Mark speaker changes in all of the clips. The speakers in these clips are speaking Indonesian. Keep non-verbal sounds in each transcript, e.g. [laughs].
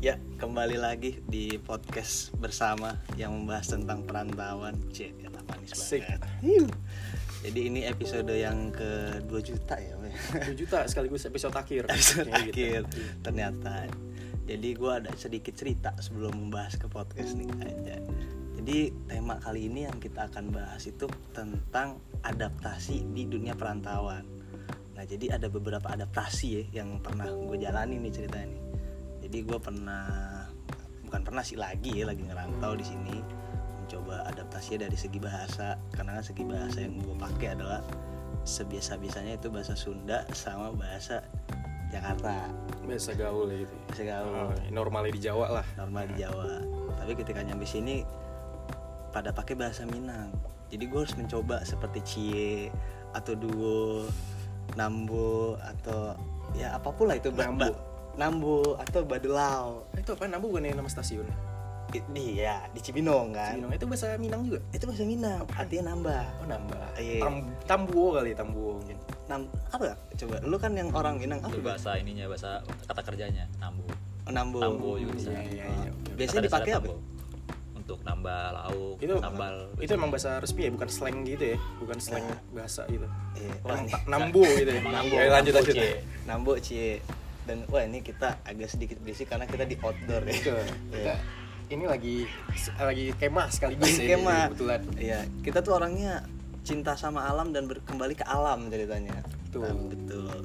Speaker 1: Ya, kembali lagi di podcast bersama yang membahas tentang perantauan. Cek, ya lah, manis
Speaker 2: Sip.
Speaker 1: banget. Jadi ini episode yang ke 2 juta ya. Be?
Speaker 2: 2 juta sekaligus episode akhir.
Speaker 1: episode
Speaker 2: Kayak gitu.
Speaker 1: akhir ternyata. Jadi gue ada sedikit cerita sebelum membahas ke podcast nih aja. Jadi tema kali ini yang kita akan bahas itu tentang adaptasi di dunia perantauan. Nah jadi ada beberapa adaptasi ya yang pernah gue jalani nih ceritanya nih. Jadi gue pernah bukan pernah sih lagi ya lagi ngerantau di sini mencoba adaptasinya dari segi bahasa karena kan segi bahasa yang gue pakai adalah sebiasa-biasanya itu bahasa Sunda sama bahasa Jakarta
Speaker 2: Biasa gaul ya gitu.
Speaker 1: bahasa gaul
Speaker 2: Oh, normalnya di Jawa lah.
Speaker 1: normal di Jawa tapi ketika nyampe sini pada pakai bahasa Minang jadi gue harus mencoba seperti cie atau duo nambo atau ya apapun lah itu ba-
Speaker 2: Nambo.
Speaker 1: ba- nambo atau badelau
Speaker 2: Ah, Itu apa? Nambu bukan yang nama stasiun.
Speaker 1: I- di ya di Cibinong kan
Speaker 2: Cibinong itu bahasa Minang juga.
Speaker 1: itu bahasa Minang
Speaker 2: Apaan?
Speaker 1: artinya nambah
Speaker 2: Oh, nambah.
Speaker 1: Iya.
Speaker 2: Tam- tambuo kali, tambuo.
Speaker 1: Nam, apa coba lu kan yang orang Minang apa
Speaker 3: Itu
Speaker 1: bahasa
Speaker 3: bahasa ininya bahasa kata kerjanya nambu
Speaker 1: nambo
Speaker 3: Nambo juga bisa
Speaker 2: Iya, iya,
Speaker 1: Oh,
Speaker 2: iya.
Speaker 1: biasanya
Speaker 3: Kata dasarnya
Speaker 1: dipakai apa
Speaker 3: nambo. untuk nambah lauk
Speaker 2: Itu
Speaker 3: nambal
Speaker 2: itu emang bahasa resmi ya, bukan slang gitu ya. Bukan slang
Speaker 1: Nah.
Speaker 2: bahasa gitu.
Speaker 1: Iya,
Speaker 2: Oh,
Speaker 1: wah,
Speaker 2: emang
Speaker 1: nih.
Speaker 2: ta- nambu [laughs] gitu ya.
Speaker 3: Emang nambu.
Speaker 2: Oke, lanjut
Speaker 3: Nambu,
Speaker 2: lanjut.
Speaker 3: Cie.
Speaker 1: Nambo cie dan wah ini kita agak sedikit berisik karena kita di outdoor ya.
Speaker 2: [laughs] Betul. Kita ini lagi Iya. lagi kemah sekaligus ya.
Speaker 1: Kemah.
Speaker 2: Kebetulan.
Speaker 1: Iya, kita tuh orangnya cinta sama alam dan berkembali ke alam ceritanya.
Speaker 2: Betul.
Speaker 1: Nah, betul.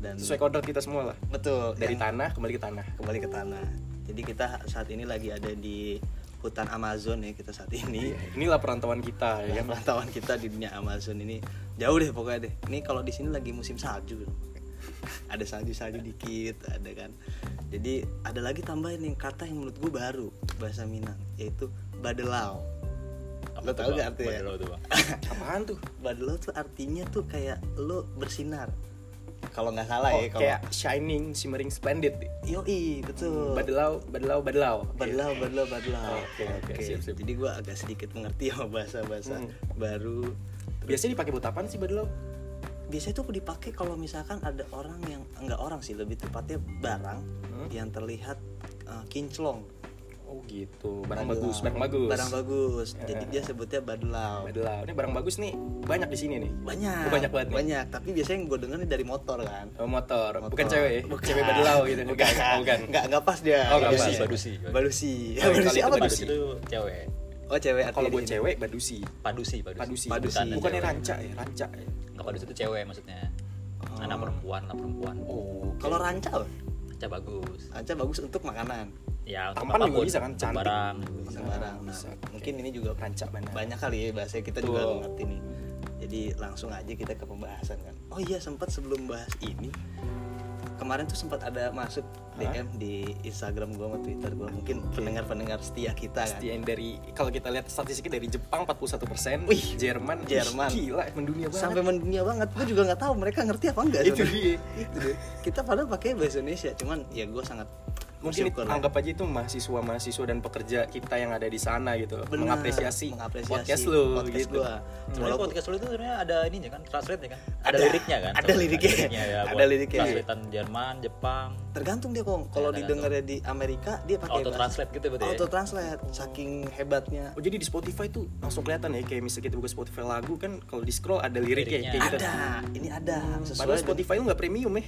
Speaker 1: Dan
Speaker 2: Sesuai kodrat kita semua lah.
Speaker 1: betul
Speaker 2: Dari
Speaker 1: yang
Speaker 2: tanah kembali ke tanah.
Speaker 1: kembali ke tanah. Jadi kita saat ini lagi ada di hutan Amazon ya kita saat ini.
Speaker 2: Iya, Inilah perantauan kita ya
Speaker 1: Ya,
Speaker 2: kan.
Speaker 1: perantauan kita di dunia Amazon ini jauh deh pokoknya deh. Ini kalau di sini lagi musim salju. ada salju-salju dikit, ada kan. Jadi ada lagi tambahin yang kata yang menurut gue baru bahasa Minang yaitu badelau. Lo tau gak ya artinya? Oh,
Speaker 3: lo tuh bang
Speaker 2: Apaan tuh?
Speaker 1: Badelau tuh artinya tuh kayak lo bersinar. Kalau nggak salah
Speaker 2: Oh,
Speaker 1: ya kalau
Speaker 2: kayak shining, shimmering, splendid.
Speaker 1: Yoi, betul.
Speaker 2: Badelau, badelau, badelau.
Speaker 1: Badelau, badelau, badelau.
Speaker 2: Oke, oke, siap, siap.
Speaker 1: Jadi gue agak sedikit mengerti sama bahasa-bahasa
Speaker 2: Hmm.
Speaker 1: baru.
Speaker 2: Iya. Biasanya dipakai buat apaan sih badelau?
Speaker 1: biasanya tuh dipakai kalau misalkan ada orang yang enggak orang sih lebih tepatnya barang
Speaker 2: Hmm?
Speaker 1: yang terlihat uh, kinclong
Speaker 2: Oh gitu, barang
Speaker 1: Badelau.
Speaker 2: bagus, barang bagus.
Speaker 1: barang bagus jadi
Speaker 2: Eh.
Speaker 1: dia sebutnya badelau
Speaker 2: Badelau. Ini barang bagus nih, banyak di sini nih.
Speaker 1: banyak
Speaker 2: Oh, banyak banget nih.
Speaker 1: banyak tapi biasanya yang gue denger nih dari motor kan
Speaker 2: Oh, motor. bukan
Speaker 1: Motor.
Speaker 2: cewek ya? Cewek badelau gitu.
Speaker 1: bukan
Speaker 2: Oh, bukan.
Speaker 1: nggak nggak pas dia
Speaker 2: Oh, nggak
Speaker 1: Biasanya.
Speaker 2: pas.
Speaker 3: Badusi.
Speaker 1: badusi
Speaker 2: Kalau-
Speaker 1: badusi
Speaker 2: kalau
Speaker 1: apa
Speaker 2: itu
Speaker 1: badusi
Speaker 3: badusi itu cewek
Speaker 1: oh cewek artinya
Speaker 2: Kalau
Speaker 1: di
Speaker 2: buat
Speaker 1: sini.
Speaker 2: cewek badusi.
Speaker 3: padusi padusi
Speaker 2: Padusi.
Speaker 1: Padusi.
Speaker 3: Bukan
Speaker 2: Bukannya
Speaker 3: cewek.
Speaker 2: ranca ya, ranca ya.
Speaker 3: nggak padusi itu cewek maksudnya
Speaker 1: Oh.
Speaker 3: anak perempuan anak perempuan
Speaker 2: Oh. oke.
Speaker 1: kalau ranca apa?
Speaker 3: Ranca bagus
Speaker 1: ranca bagus untuk makanan
Speaker 3: ya untuk
Speaker 2: Tampan juga
Speaker 3: apapun,
Speaker 2: bisa kan,
Speaker 3: untuk
Speaker 2: cantik.
Speaker 3: barang
Speaker 1: bisa
Speaker 2: Nah,
Speaker 1: barang nah,
Speaker 2: bisa. Oke.
Speaker 1: mungkin ini juga
Speaker 2: ranca mana?
Speaker 1: banyak kali ya bahasanya kita
Speaker 2: Betul.
Speaker 1: juga nggak ngerti nih jadi langsung aja kita ke pembahasan kan oh iya sempat sebelum bahas ini kemarin tuh sempat ada masuk DM di Instagram gua sama Twitter gua mungkin pendengar-pendengar setia kita kan
Speaker 2: Yang dari kalau kita lihat statistiknya dari Jepang 41 persen,
Speaker 1: Wih,
Speaker 2: Jerman,
Speaker 1: Jerman.
Speaker 2: Ih, gila mendunia banget.
Speaker 1: sampai mendunia banget gua juga nggak tahu mereka ngerti apa enggak
Speaker 2: itu
Speaker 1: sebenarnya.
Speaker 2: dia.
Speaker 1: Itu deh. kita pada pakai bahasa Indonesia cuman ya gua sangat
Speaker 2: mungkin
Speaker 1: bersyukur ya. lah.
Speaker 2: anggap aja itu mahasiswa-mahasiswa dan pekerja kita yang ada di sana gitu loh.
Speaker 1: Benar,
Speaker 2: mengapresiasi,
Speaker 1: mengapresiasi
Speaker 2: podcast lu
Speaker 1: podcast
Speaker 2: gitu.
Speaker 1: gua.
Speaker 3: Sebenarnya
Speaker 1: Walaupun-
Speaker 3: podcast lu itu sebenarnya ada ininya kan, translate nya kan,
Speaker 1: Ada.
Speaker 3: ada, liriknya kan,
Speaker 1: Ada liriknya.
Speaker 3: ya,
Speaker 1: Ada
Speaker 3: buat
Speaker 1: liriknya.
Speaker 3: Translatean Jerman, Jepang,
Speaker 1: tergantung dia kong kalau
Speaker 3: Ya, tergantung.
Speaker 1: didengarnya di Amerika dia pakai
Speaker 3: auto translate gitu
Speaker 2: Iya.
Speaker 3: berarti. ya?
Speaker 1: auto translate saking hebatnya
Speaker 2: Oh jadi di Spotify tuh langsung kelihatan ya kayak misalnya kita buka Spotify lagu kan kalau di scroll ada liriknya
Speaker 3: Liriknya.
Speaker 2: kayak gitu.
Speaker 1: ada ini ada
Speaker 2: Padahal
Speaker 1: sesuai dengan-
Speaker 2: Spotify lu nggak premium
Speaker 1: [laughs]
Speaker 2: ya.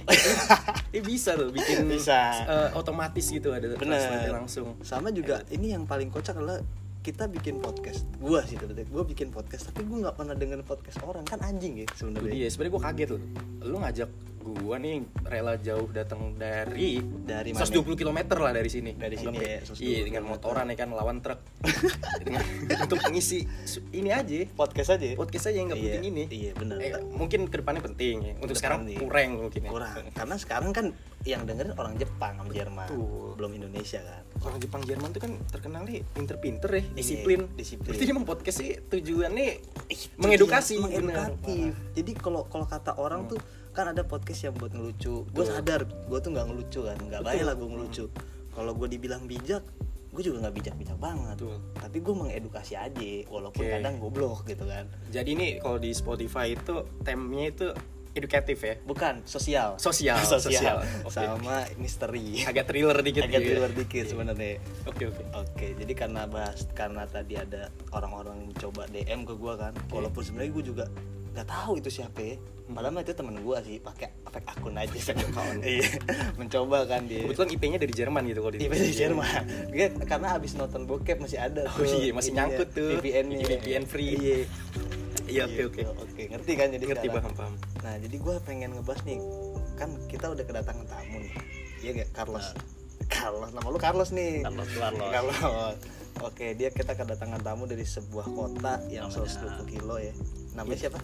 Speaker 2: Ini bisa loh bikin
Speaker 1: Bisa.
Speaker 2: eh, otomatis gitu ada
Speaker 1: Bener.
Speaker 2: translate langsung.
Speaker 1: sama juga ini yang paling kocak adalah kita bikin podcast gua sih tadi gua bikin podcast tapi gua nggak pernah denger podcast orang kan anjing ya
Speaker 2: Itu
Speaker 1: sebenarnya
Speaker 2: dia Iya, sebenarnya gua kaget loh. Lu ngajak gua nih yang rela jauh datang dari
Speaker 1: Dari mana?
Speaker 2: 120 km lah dari sini.
Speaker 1: Dari sini ya,
Speaker 2: Anggap
Speaker 1: 120
Speaker 2: Iya, dengan motoran ya kan lawan truk. Dengan- [laughs] untuk mengisi su- ini aja
Speaker 1: podcast aja ya?
Speaker 2: podcast aja Oh, yang nggak
Speaker 1: Iya,
Speaker 2: penting ini.
Speaker 1: iya bener
Speaker 2: Eh, mungkin kedepannya penting ya. Untuk
Speaker 1: Kedepannya.
Speaker 2: sekarang kurang mungkin ya.
Speaker 1: kurang karena sekarang kan yang dengerin orang Jepang sama Jerman
Speaker 2: Betul.
Speaker 1: belum Indonesia kan
Speaker 2: Orang Jepang Jerman tuh kan terkenalnya pinter-pinter ya, disiplin.
Speaker 1: Iya, disiplin.
Speaker 2: Berarti emang podcast sih tujuannya mengedukasi,
Speaker 1: Jadi,
Speaker 2: bener. Hmm.
Speaker 1: edukatif jadi kalau kalau kata orang tuh kan ada podcast yang buat ngelucu gue
Speaker 2: Betul.
Speaker 1: sadar gue tuh nggak ngelucu kan nggak
Speaker 2: Betul.
Speaker 1: baik lah gue ngelucu kalau gue dibilang bijak gue juga nggak bijak-bijak banget
Speaker 2: Betul.
Speaker 1: tapi gue mengedukasi aja walaupun
Speaker 2: Oke.
Speaker 1: kadang goblok gitu kan
Speaker 2: Jadi ini kalau di Spotify itu temnya itu edukatif ya
Speaker 1: bukan sosial
Speaker 2: Sosial, sosial.
Speaker 1: [laughs] sosial,
Speaker 2: Oke.
Speaker 1: sama misteri
Speaker 2: agak thriller
Speaker 1: Iya. agak
Speaker 2: dikit gitu ya.
Speaker 1: thriller dikit sebenarnya
Speaker 2: oke oke
Speaker 1: Oke, jadi karena bahas karena tadi ada orang-orang yang coba DM ke gua kan, walaupun sebenarnya gua juga nggak tahu itu siapa ya.
Speaker 2: Hmm.
Speaker 1: Padahal mah itu temen gua sih, pakai efek akun aja sih. [laughs] Iya, mencoba kan dia.
Speaker 2: kebetulan IP-nya dari Jerman gitu kalau di
Speaker 1: Iya, dari Jerman. Dia- karena abis nonton bokep masih ada.
Speaker 2: Oh iya, masih nyangkut tuh.
Speaker 1: VPN-nya.
Speaker 2: VPN free.
Speaker 1: Iya.
Speaker 2: iya oke oke
Speaker 1: Gitu. Oke, ngerti kan jadi
Speaker 2: ngerti
Speaker 1: sekarang?
Speaker 2: paham paham
Speaker 1: Nah, jadi gua pengen ngebahas nih. Kan kita udah kedatangan tamu nih. Iya nggak,
Speaker 2: Nah.
Speaker 1: Carlos? Carlos, nama lu Carlos nih.
Speaker 3: Carlos Carlos.
Speaker 1: Kalau Oke, dia kita kedatangan tamu dari sebuah kota yang
Speaker 3: Namanya-
Speaker 1: 120 kilo ya. Namanya siapa?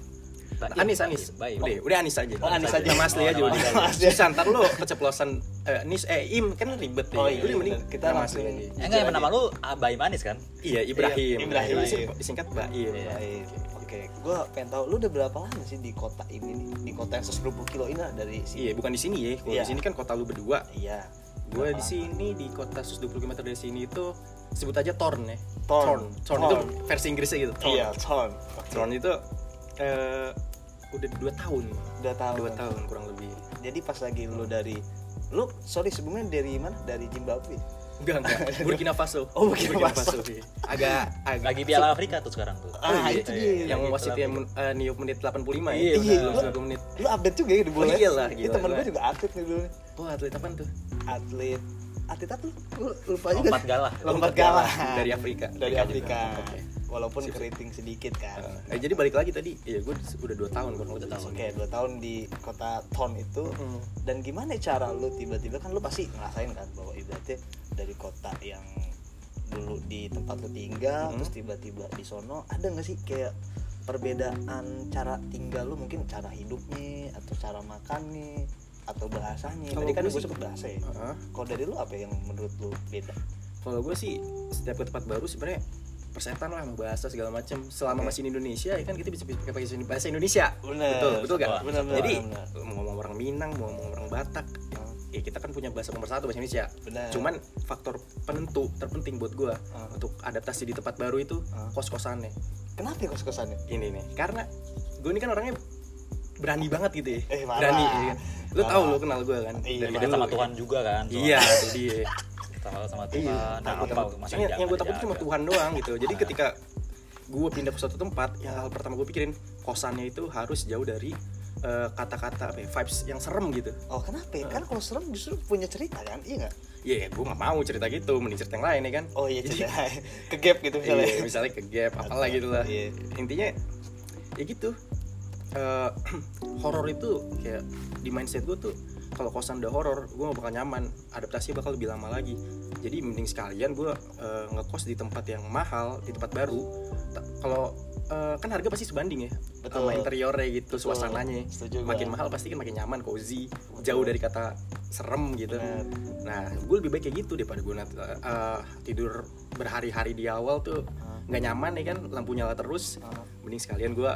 Speaker 3: Baik,
Speaker 2: Anis Anis
Speaker 3: baik.
Speaker 2: udah udah Anis aja
Speaker 1: Iya. Oh, Anis aja.
Speaker 2: nama asli
Speaker 3: Oh,
Speaker 2: aja
Speaker 3: nama
Speaker 2: udah
Speaker 1: asli. Nama asli.
Speaker 2: susah ntar lu keceplosan eh, Nis eh Im kan ribet ya
Speaker 1: Oh, iya,
Speaker 2: udah mending
Speaker 1: bener. Kita
Speaker 2: nama
Speaker 1: langsung-
Speaker 2: asli aja.
Speaker 3: Eh, enggak, yang nama lu ah, Bayi Manis kan?
Speaker 2: iya Ibrahim
Speaker 1: Iya, Ibrahim.
Speaker 2: Ibrahim. singkat Baim
Speaker 3: Iya.
Speaker 1: Baik. Oke, gue pengen tahu lu udah berapa lama sih di kota ini nih? Di kota yang 120 kilo ini lah dari sini.
Speaker 2: iya bukan di sini ya kalau
Speaker 1: Iya.
Speaker 2: di sini kan kota lu berdua
Speaker 1: Iya.
Speaker 2: gue
Speaker 1: Berapa
Speaker 2: di sini di kota 120 km dari sini itu sebut aja Torn ya
Speaker 1: Torn.
Speaker 2: Torn, itu
Speaker 1: Torn.
Speaker 2: versi Inggrisnya gitu
Speaker 1: lama?
Speaker 2: Torn
Speaker 1: Iya, ton.
Speaker 2: Torn itu eh, udah dua tahun
Speaker 1: Dua tahun.
Speaker 2: dua tahun kurang lebih
Speaker 1: Jadi pas lagi lu dari lu sorry sebelumnya dari mana? Dari Zimbabwe.
Speaker 2: enggak enggak [laughs] Burkina Faso
Speaker 1: Oh, Burkina Faso.
Speaker 2: iya. agak agak
Speaker 3: Lagi Piala Afrika tuh sekarang tuh.
Speaker 1: Ah,
Speaker 2: iya,
Speaker 1: itu
Speaker 3: iya.
Speaker 1: dia.
Speaker 2: yang
Speaker 3: Lagi
Speaker 2: wasitnya
Speaker 3: Piala
Speaker 2: men- eh, niup menit 85 ya
Speaker 3: Iya,
Speaker 1: Iya,
Speaker 2: Belum
Speaker 1: lu-
Speaker 2: 90 menit
Speaker 1: Lu update juga ya di bola.
Speaker 2: Oh, iyalah,
Speaker 1: Iya,
Speaker 2: gila,
Speaker 1: temen gue
Speaker 2: gila.
Speaker 1: juga atlet nih dulu.
Speaker 2: wah atlet apaan tuh
Speaker 1: Atlet. Atlet apa lu? Lu lupa
Speaker 3: Afrika.
Speaker 1: juga.
Speaker 3: Lompat galah.
Speaker 1: Lompat galah.
Speaker 2: dari Afrika
Speaker 1: dari
Speaker 2: juga.
Speaker 1: Afrika.
Speaker 2: Oke.
Speaker 1: Walaupun
Speaker 2: Sip, sip.
Speaker 1: keriting sedikit kan.
Speaker 2: Eh, jadi balik lagi tadi ya gue udah dua tahun kurang lebih
Speaker 3: Dua tahun.
Speaker 1: Oke, dua tahun di kota Ton itu.
Speaker 2: Mm.
Speaker 1: Dan gimana cara lu tiba-tiba kan lu pasti ngerasain kan bahwa ibaratnya dari kota yang dulu di tempat lu tinggal
Speaker 2: Mhm.
Speaker 1: terus tiba-tiba di sono ada nggak sih kayak perbedaan cara tinggal lu mungkin cara hidupnya atau cara makannya atau bahasanya.
Speaker 2: Kalau
Speaker 1: Tadi kan
Speaker 2: gue
Speaker 1: gue
Speaker 2: sih-
Speaker 1: sebut bahasa ya.
Speaker 2: Heeh.
Speaker 1: Kalau dari lu apa yang menurut lu beda?
Speaker 2: kalau gue sih setiap ke tempat baru sebenarnya persetan lah sama bahasa segala macam selama
Speaker 1: Oke.
Speaker 2: masih di Indonesia ya kan kita bisa bisa pakai bahasa- bahasa Indonesia
Speaker 1: Bener.
Speaker 2: betul betul gak
Speaker 1: Bener, bener,
Speaker 2: jadi
Speaker 1: bener.
Speaker 2: mau ngomong orang Minang mau ngomong orang Batak ya kita kan punya bahasa nomor satu bahasa Indonesia
Speaker 1: Bener.
Speaker 2: cuman faktor penentu terpenting buat gue
Speaker 1: Ah.
Speaker 2: untuk adaptasi di tempat baru itu
Speaker 1: Ah.
Speaker 2: kos kosannya
Speaker 1: kenapa ya kos-kosannya?
Speaker 2: ini nih karena gue ini kan orangnya berani banget gitu ya
Speaker 1: Eh, marah.
Speaker 2: berani ya kan? lu
Speaker 1: Marah.
Speaker 2: tau lu kenal gue kan
Speaker 1: Iya,
Speaker 2: dari
Speaker 1: marah
Speaker 3: Dekat
Speaker 2: dulu
Speaker 3: sama
Speaker 2: ya.
Speaker 3: Tuhan juga kan. soalnya.
Speaker 2: iya itu
Speaker 1: [laughs]
Speaker 2: dia
Speaker 3: Sama sama
Speaker 2: Iya,
Speaker 3: Tuhan. Nah,
Speaker 2: takut
Speaker 3: apa,
Speaker 2: sama
Speaker 3: masih
Speaker 2: Soalnya
Speaker 3: dijaga,
Speaker 2: yang gue takut itu cuma
Speaker 3: dijaga.
Speaker 2: Tuhan doang gitu. Jadi
Speaker 3: Ah.
Speaker 2: ketika gue pindah ke suatu tempat, yang hal pertama gue pikirin kosannya itu harus jauh dari eh, kata-kata apa ya, vibes yang serem gitu.
Speaker 1: Oh kenapa? ya? Kan kalau serem justru punya cerita kan, iya nggak?
Speaker 2: Ya gue gak mau cerita gitu, mending cerita yang lain ya kan.
Speaker 1: Oh iya
Speaker 2: Jadi-
Speaker 1: cerita [laughs] ke gap gitu misalnya.
Speaker 2: Iya, misalnya ke gap apalah gitu lah.
Speaker 1: Iya.
Speaker 2: Intinya ya gitu. Eh, [clears throat] horor itu kayak di mindset gue tuh kalau kosan udah horor, gue gak bakal nyaman. Adaptasi bakal lebih lama lagi. Jadi mending sekalian gue eh, ngekos di tempat yang mahal, di tempat baru. Ta- Kalau eh, kan harga pasti sebanding ya
Speaker 1: Betul.
Speaker 2: sama interiornya gitu,
Speaker 1: Betul.
Speaker 2: suasananya.
Speaker 1: Setuju gua.
Speaker 2: Makin mahal pasti kan makin nyaman, cozy, jauh dari kata serem gitu.
Speaker 1: Bener.
Speaker 2: Nah, gue lebih baik kayak gitu daripada gue nanti, eh, tidur berhari-hari di awal tuh
Speaker 1: Ah.
Speaker 2: nggak nyaman ya kan, lampu nyala terus.
Speaker 1: Ah.
Speaker 2: Mending sekalian gue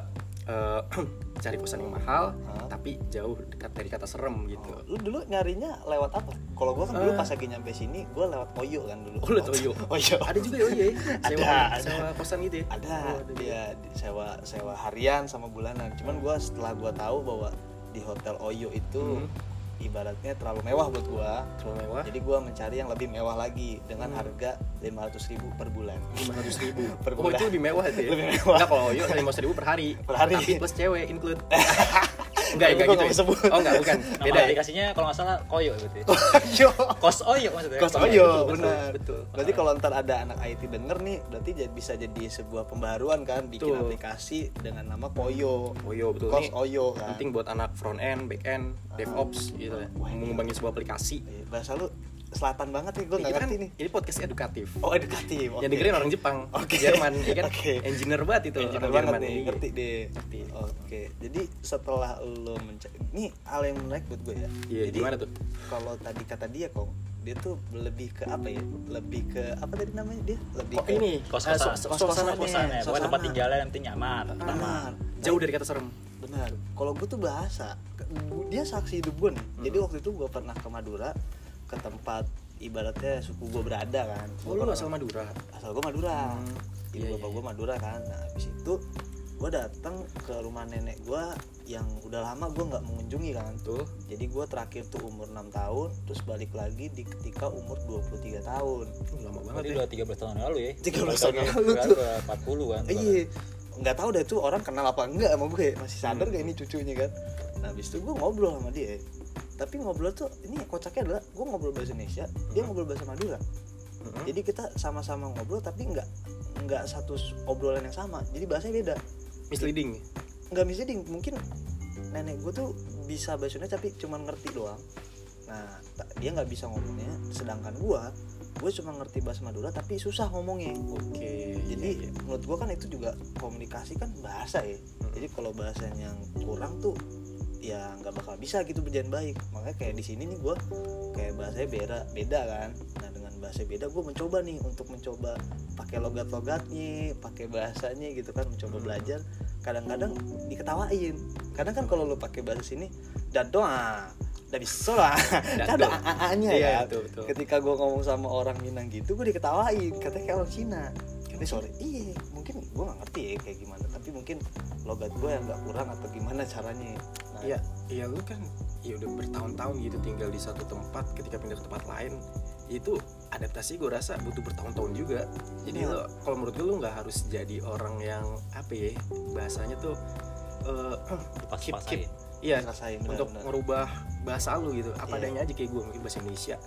Speaker 2: eh, [clears throat] cari kosan yang mahal,
Speaker 1: Ah.
Speaker 2: tapi jauh dekat dari kata serem gitu.
Speaker 1: Oh, Lu dulu nyarinya lewat apa? Kalau gua kan dulu
Speaker 2: Eh.
Speaker 1: pas lagi nyampe sini, gua lewat Oyo kan dulu.
Speaker 2: Oh, lewat
Speaker 1: [laughs]
Speaker 2: Oyo. [laughs]
Speaker 1: Oyo.
Speaker 2: Ada juga ya, iya, ya? sewa,
Speaker 1: Ada, ada.
Speaker 2: sewa kosan gitu ya?
Speaker 1: Ada, iya.
Speaker 2: Oh, ada juga.
Speaker 1: dia di- sewa sewa harian sama bulanan. Cuman gua setelah gua tahu bahwa di hotel Oyo itu
Speaker 2: Mhm.
Speaker 1: ibaratnya terlalu mewah buat gua.
Speaker 2: Terlalu mewah,
Speaker 1: Jadi gua mencari yang lebih mewah lagi dengan harga 500.000 ribu per bulan.
Speaker 2: 500 Hmm. ribu.
Speaker 1: [laughs] Per
Speaker 2: Oh, itu
Speaker 1: bulan.
Speaker 2: lebih mewah itu ya?
Speaker 1: Lebih mewah.
Speaker 2: Nggak, kalau yuk 500 ribu per hari.
Speaker 1: Per hari.
Speaker 2: Tapi plus cewek,
Speaker 1: [laughs]
Speaker 2: include. Enggak,
Speaker 1: Tapi
Speaker 2: enggak
Speaker 1: gua nggak
Speaker 2: gitu ya?
Speaker 1: mau sebut.
Speaker 2: Oh, enggak, bukan.
Speaker 3: Nama
Speaker 2: Beda ya?
Speaker 3: aplikasinya kalau nggak salah koyo
Speaker 2: [laughs]
Speaker 3: berarti. ya?
Speaker 1: [laughs] Oyo.
Speaker 3: Kos oyo maksudnya.
Speaker 1: Kos
Speaker 2: Iya,
Speaker 1: Oyo, benar.
Speaker 2: betul, betul, Ah. betul.
Speaker 1: Berarti kalau ntar ada anak IT denger nih, berarti jadi- bisa jadi sebuah pembaruan kan, bikin
Speaker 2: Betul.
Speaker 1: aplikasi dengan nama Koyo.
Speaker 2: Oh, iya, betul.
Speaker 1: Kos
Speaker 2: Ini-
Speaker 1: Oyo kan.
Speaker 2: penting buat anak front end, back end, DevOps gitu ya.
Speaker 1: Wah, iya. ini-
Speaker 2: Mengembangin sebuah aplikasi.
Speaker 1: Eh, Bahasa lu selatan banget nih, gue
Speaker 2: Ini
Speaker 1: nggak
Speaker 2: kita
Speaker 1: ngerti
Speaker 2: kan-
Speaker 1: nih.
Speaker 2: Ini podcast edukatif.
Speaker 1: Oh edukatif.
Speaker 2: Yang dengerin orang Jepang,
Speaker 1: Oke.
Speaker 2: Jerman, ya kan?
Speaker 1: Oke.
Speaker 2: Engineer banget itu
Speaker 1: Engineer
Speaker 2: orang
Speaker 1: banget
Speaker 2: Jerman.
Speaker 1: nih,
Speaker 2: Iya.
Speaker 1: ngerti deh.
Speaker 2: Ngerti.
Speaker 1: Oke, jadi setelah lo mencari, ini hal yang menarik buat gue ya.
Speaker 2: Iya,
Speaker 1: jadi
Speaker 2: gimana tuh?
Speaker 1: Kalau tadi kata dia kong, dia tuh lebih ke apa ya? Lebih ke apa tadi namanya dia? Lebih
Speaker 2: Kok
Speaker 1: ke
Speaker 2: ini
Speaker 3: Kos-kosan.
Speaker 2: eh, su- suasana
Speaker 1: Kos-kosannya.
Speaker 2: kosan.
Speaker 3: Kosannya, bukan
Speaker 1: Suasana.
Speaker 3: ya, tempat tinggalnya yang penting nyaman.
Speaker 1: Benar.
Speaker 2: Jauh dari kata serem.
Speaker 1: benar kalau gue tuh bahasa Gu- dia saksi hidup gue nih.
Speaker 2: Hmm.
Speaker 1: jadi waktu itu gue pernah ke Madura ke tempat ibaratnya suku gue berada kan
Speaker 2: Oh, lu asal Madura.
Speaker 1: asal gue Madura
Speaker 2: Hmm,
Speaker 1: ibu
Speaker 2: iya,
Speaker 1: bapak
Speaker 2: iya.
Speaker 1: gue Madura kan nah habis itu gue datang ke rumah nenek gue yang udah lama gue nggak mengunjungi kan
Speaker 2: betul
Speaker 1: jadi gue terakhir tuh umur 6 tahun terus balik lagi di ketika umur 23 tahun
Speaker 2: Duh, lama banget
Speaker 3: Berarti
Speaker 2: ya
Speaker 3: udah 13 tahun yang lalu ya
Speaker 1: 13 tahun yang lalu
Speaker 3: tuh
Speaker 1: tuh.
Speaker 3: 40 kan
Speaker 1: iya nggak tahu deh tuh orang kenal apa enggak sama gue masih sadar gak ini cucunya kan nah habis itu gue ngobrol sama dia tapi ngobrol tuh ini kocaknya adalah gue ngobrol bahasa Indonesia dia ngobrol bahasa Madura
Speaker 2: Mm-mm.
Speaker 1: jadi kita sama-sama ngobrol tapi nggak nggak satu s- obrolan yang sama jadi bahasanya beda
Speaker 2: misleading
Speaker 1: nggak misleading mungkin nenek gue tuh bisa bahasa Indonesia tapi cuma ngerti doang nah ta- dia nggak bisa ngomongnya sedangkan gue gue cuma ngerti bahasa Madura tapi susah ngomongnya
Speaker 2: oke
Speaker 1: jadi
Speaker 2: [laughs] iya, Hmm. iya.
Speaker 1: menurut gue kan itu juga komunikasi kan bahasa ya jadi kalau bahasanya yang kurang tuh ya nggak bakal bisa gitu berjalan baik makanya kayak di sini nih gue kayak bahasanya beda beda kan nah dengan bahasa beda gue mencoba nih untuk mencoba pakai logat-logatnya pakai bahasanya gitu kan mencoba
Speaker 2: Hmm.
Speaker 1: belajar kadang-kadang diketawain kadang kan kalau lo pakai bahasa sini dadoa dari sola
Speaker 2: Dan
Speaker 1: kan
Speaker 2: tuh,
Speaker 1: ada a-nya
Speaker 2: iya
Speaker 1: ya
Speaker 2: betul betul
Speaker 1: ketika gue ngomong sama orang Minang gitu gue diketawain katanya kayak orang Cina ini sorry iya mungkin gue gak ngerti ya kayak gimana tapi mungkin logat gue yang gak kurang atau gimana caranya nah,
Speaker 2: Iya, iya lu kan ya udah bertahun-tahun gitu tinggal di satu tempat ketika pindah ke tempat lain itu adaptasi gue rasa butuh bertahun-tahun juga jadi
Speaker 1: Iya.
Speaker 2: lo kalau menurut gue lu nggak harus jadi orang yang apa ya bahasanya tuh eh, [clears throat]
Speaker 3: pas
Speaker 2: keep
Speaker 3: pas
Speaker 2: keep
Speaker 3: aja
Speaker 2: iya
Speaker 1: rasain
Speaker 2: untuk
Speaker 1: benar-benar. merubah
Speaker 2: merubah bahasa lu gitu apa
Speaker 1: Iya.
Speaker 2: adanya aja kayak gue mungkin bahasa Indonesia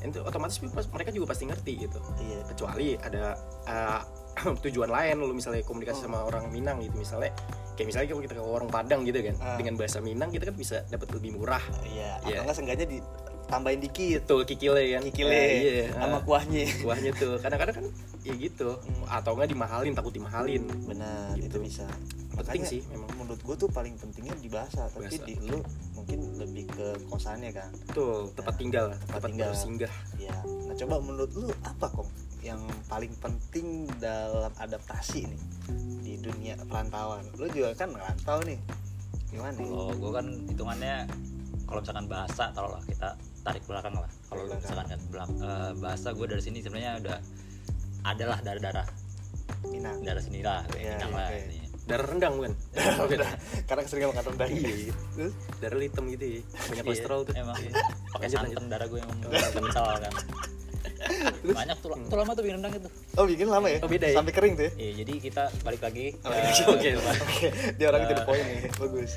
Speaker 2: itu otomatis mereka juga pasti ngerti gitu
Speaker 1: iya
Speaker 2: kecuali ada eh, [clears throat] tujuan lain lu misalnya komunikasi
Speaker 1: Hmm.
Speaker 2: sama orang Minang gitu misalnya kayak misalnya kalau kita ke orang Padang gitu kan
Speaker 1: Ah.
Speaker 2: dengan bahasa Minang kita kan bisa dapat lebih murah
Speaker 1: iya
Speaker 2: Iya.
Speaker 1: atau nggak sengaja ditambahin dikit
Speaker 2: tuh kikile kan
Speaker 1: Kikile.
Speaker 2: Ah, iya
Speaker 1: [laughs] sama
Speaker 2: Ah, [laughs]
Speaker 1: kuahnya
Speaker 2: kuahnya tuh kadang-kadang kan ya gitu
Speaker 1: Hmm.
Speaker 2: atau nggak dimahalin takut dimahalin
Speaker 1: benar
Speaker 2: Gitu.
Speaker 1: itu bisa
Speaker 2: penting
Speaker 1: Makanya-
Speaker 2: sih memang
Speaker 1: menurut gue tuh paling pentingnya di bahasa tapi
Speaker 2: Bahasa.
Speaker 1: di lu mungkin lebih ke kosannya kan
Speaker 2: tuh tempat tinggal lah, tempat,
Speaker 1: tinggal.
Speaker 2: bersinggah
Speaker 1: ya nah coba menurut lu apa kok yang paling penting dalam adaptasi nih di dunia perantauan lu juga kan merantau nih gimana nih
Speaker 3: kalau gue kan hitungannya kalau misalkan bahasa taruhlah kita tarik belakang lah kalau
Speaker 1: Belakang.
Speaker 3: misalkan kan belak- eh, bahasa gue dari sini sebenarnya udah adalah darah darah
Speaker 1: minang
Speaker 3: darah sini lah kayak
Speaker 1: Iya,
Speaker 3: Minang
Speaker 1: iya,
Speaker 3: lah
Speaker 1: iya.
Speaker 3: ini.
Speaker 2: darah rendang
Speaker 1: [laughs]
Speaker 2: bukan
Speaker 1: karena sering makan rendang
Speaker 2: Iya, iya.
Speaker 1: Terus?
Speaker 2: darah hitam gitu ya banyak
Speaker 3: Iya,
Speaker 2: kolesterol tuh
Speaker 3: emang pakai
Speaker 2: Lanjut,
Speaker 3: santan darah gue yang kental kan banyak tuh tuh lama tuh bikin rendang itu
Speaker 1: oh bikin lama ya
Speaker 2: Oh, beda ya?
Speaker 1: sampai kering tuh ya
Speaker 3: Iya, jadi kita balik lagi
Speaker 1: Oke,
Speaker 3: ke-
Speaker 1: [laughs] oke,
Speaker 2: [laughs]
Speaker 1: oke. dia orang itu
Speaker 2: Ya.
Speaker 3: Eh.
Speaker 1: poin nih bagus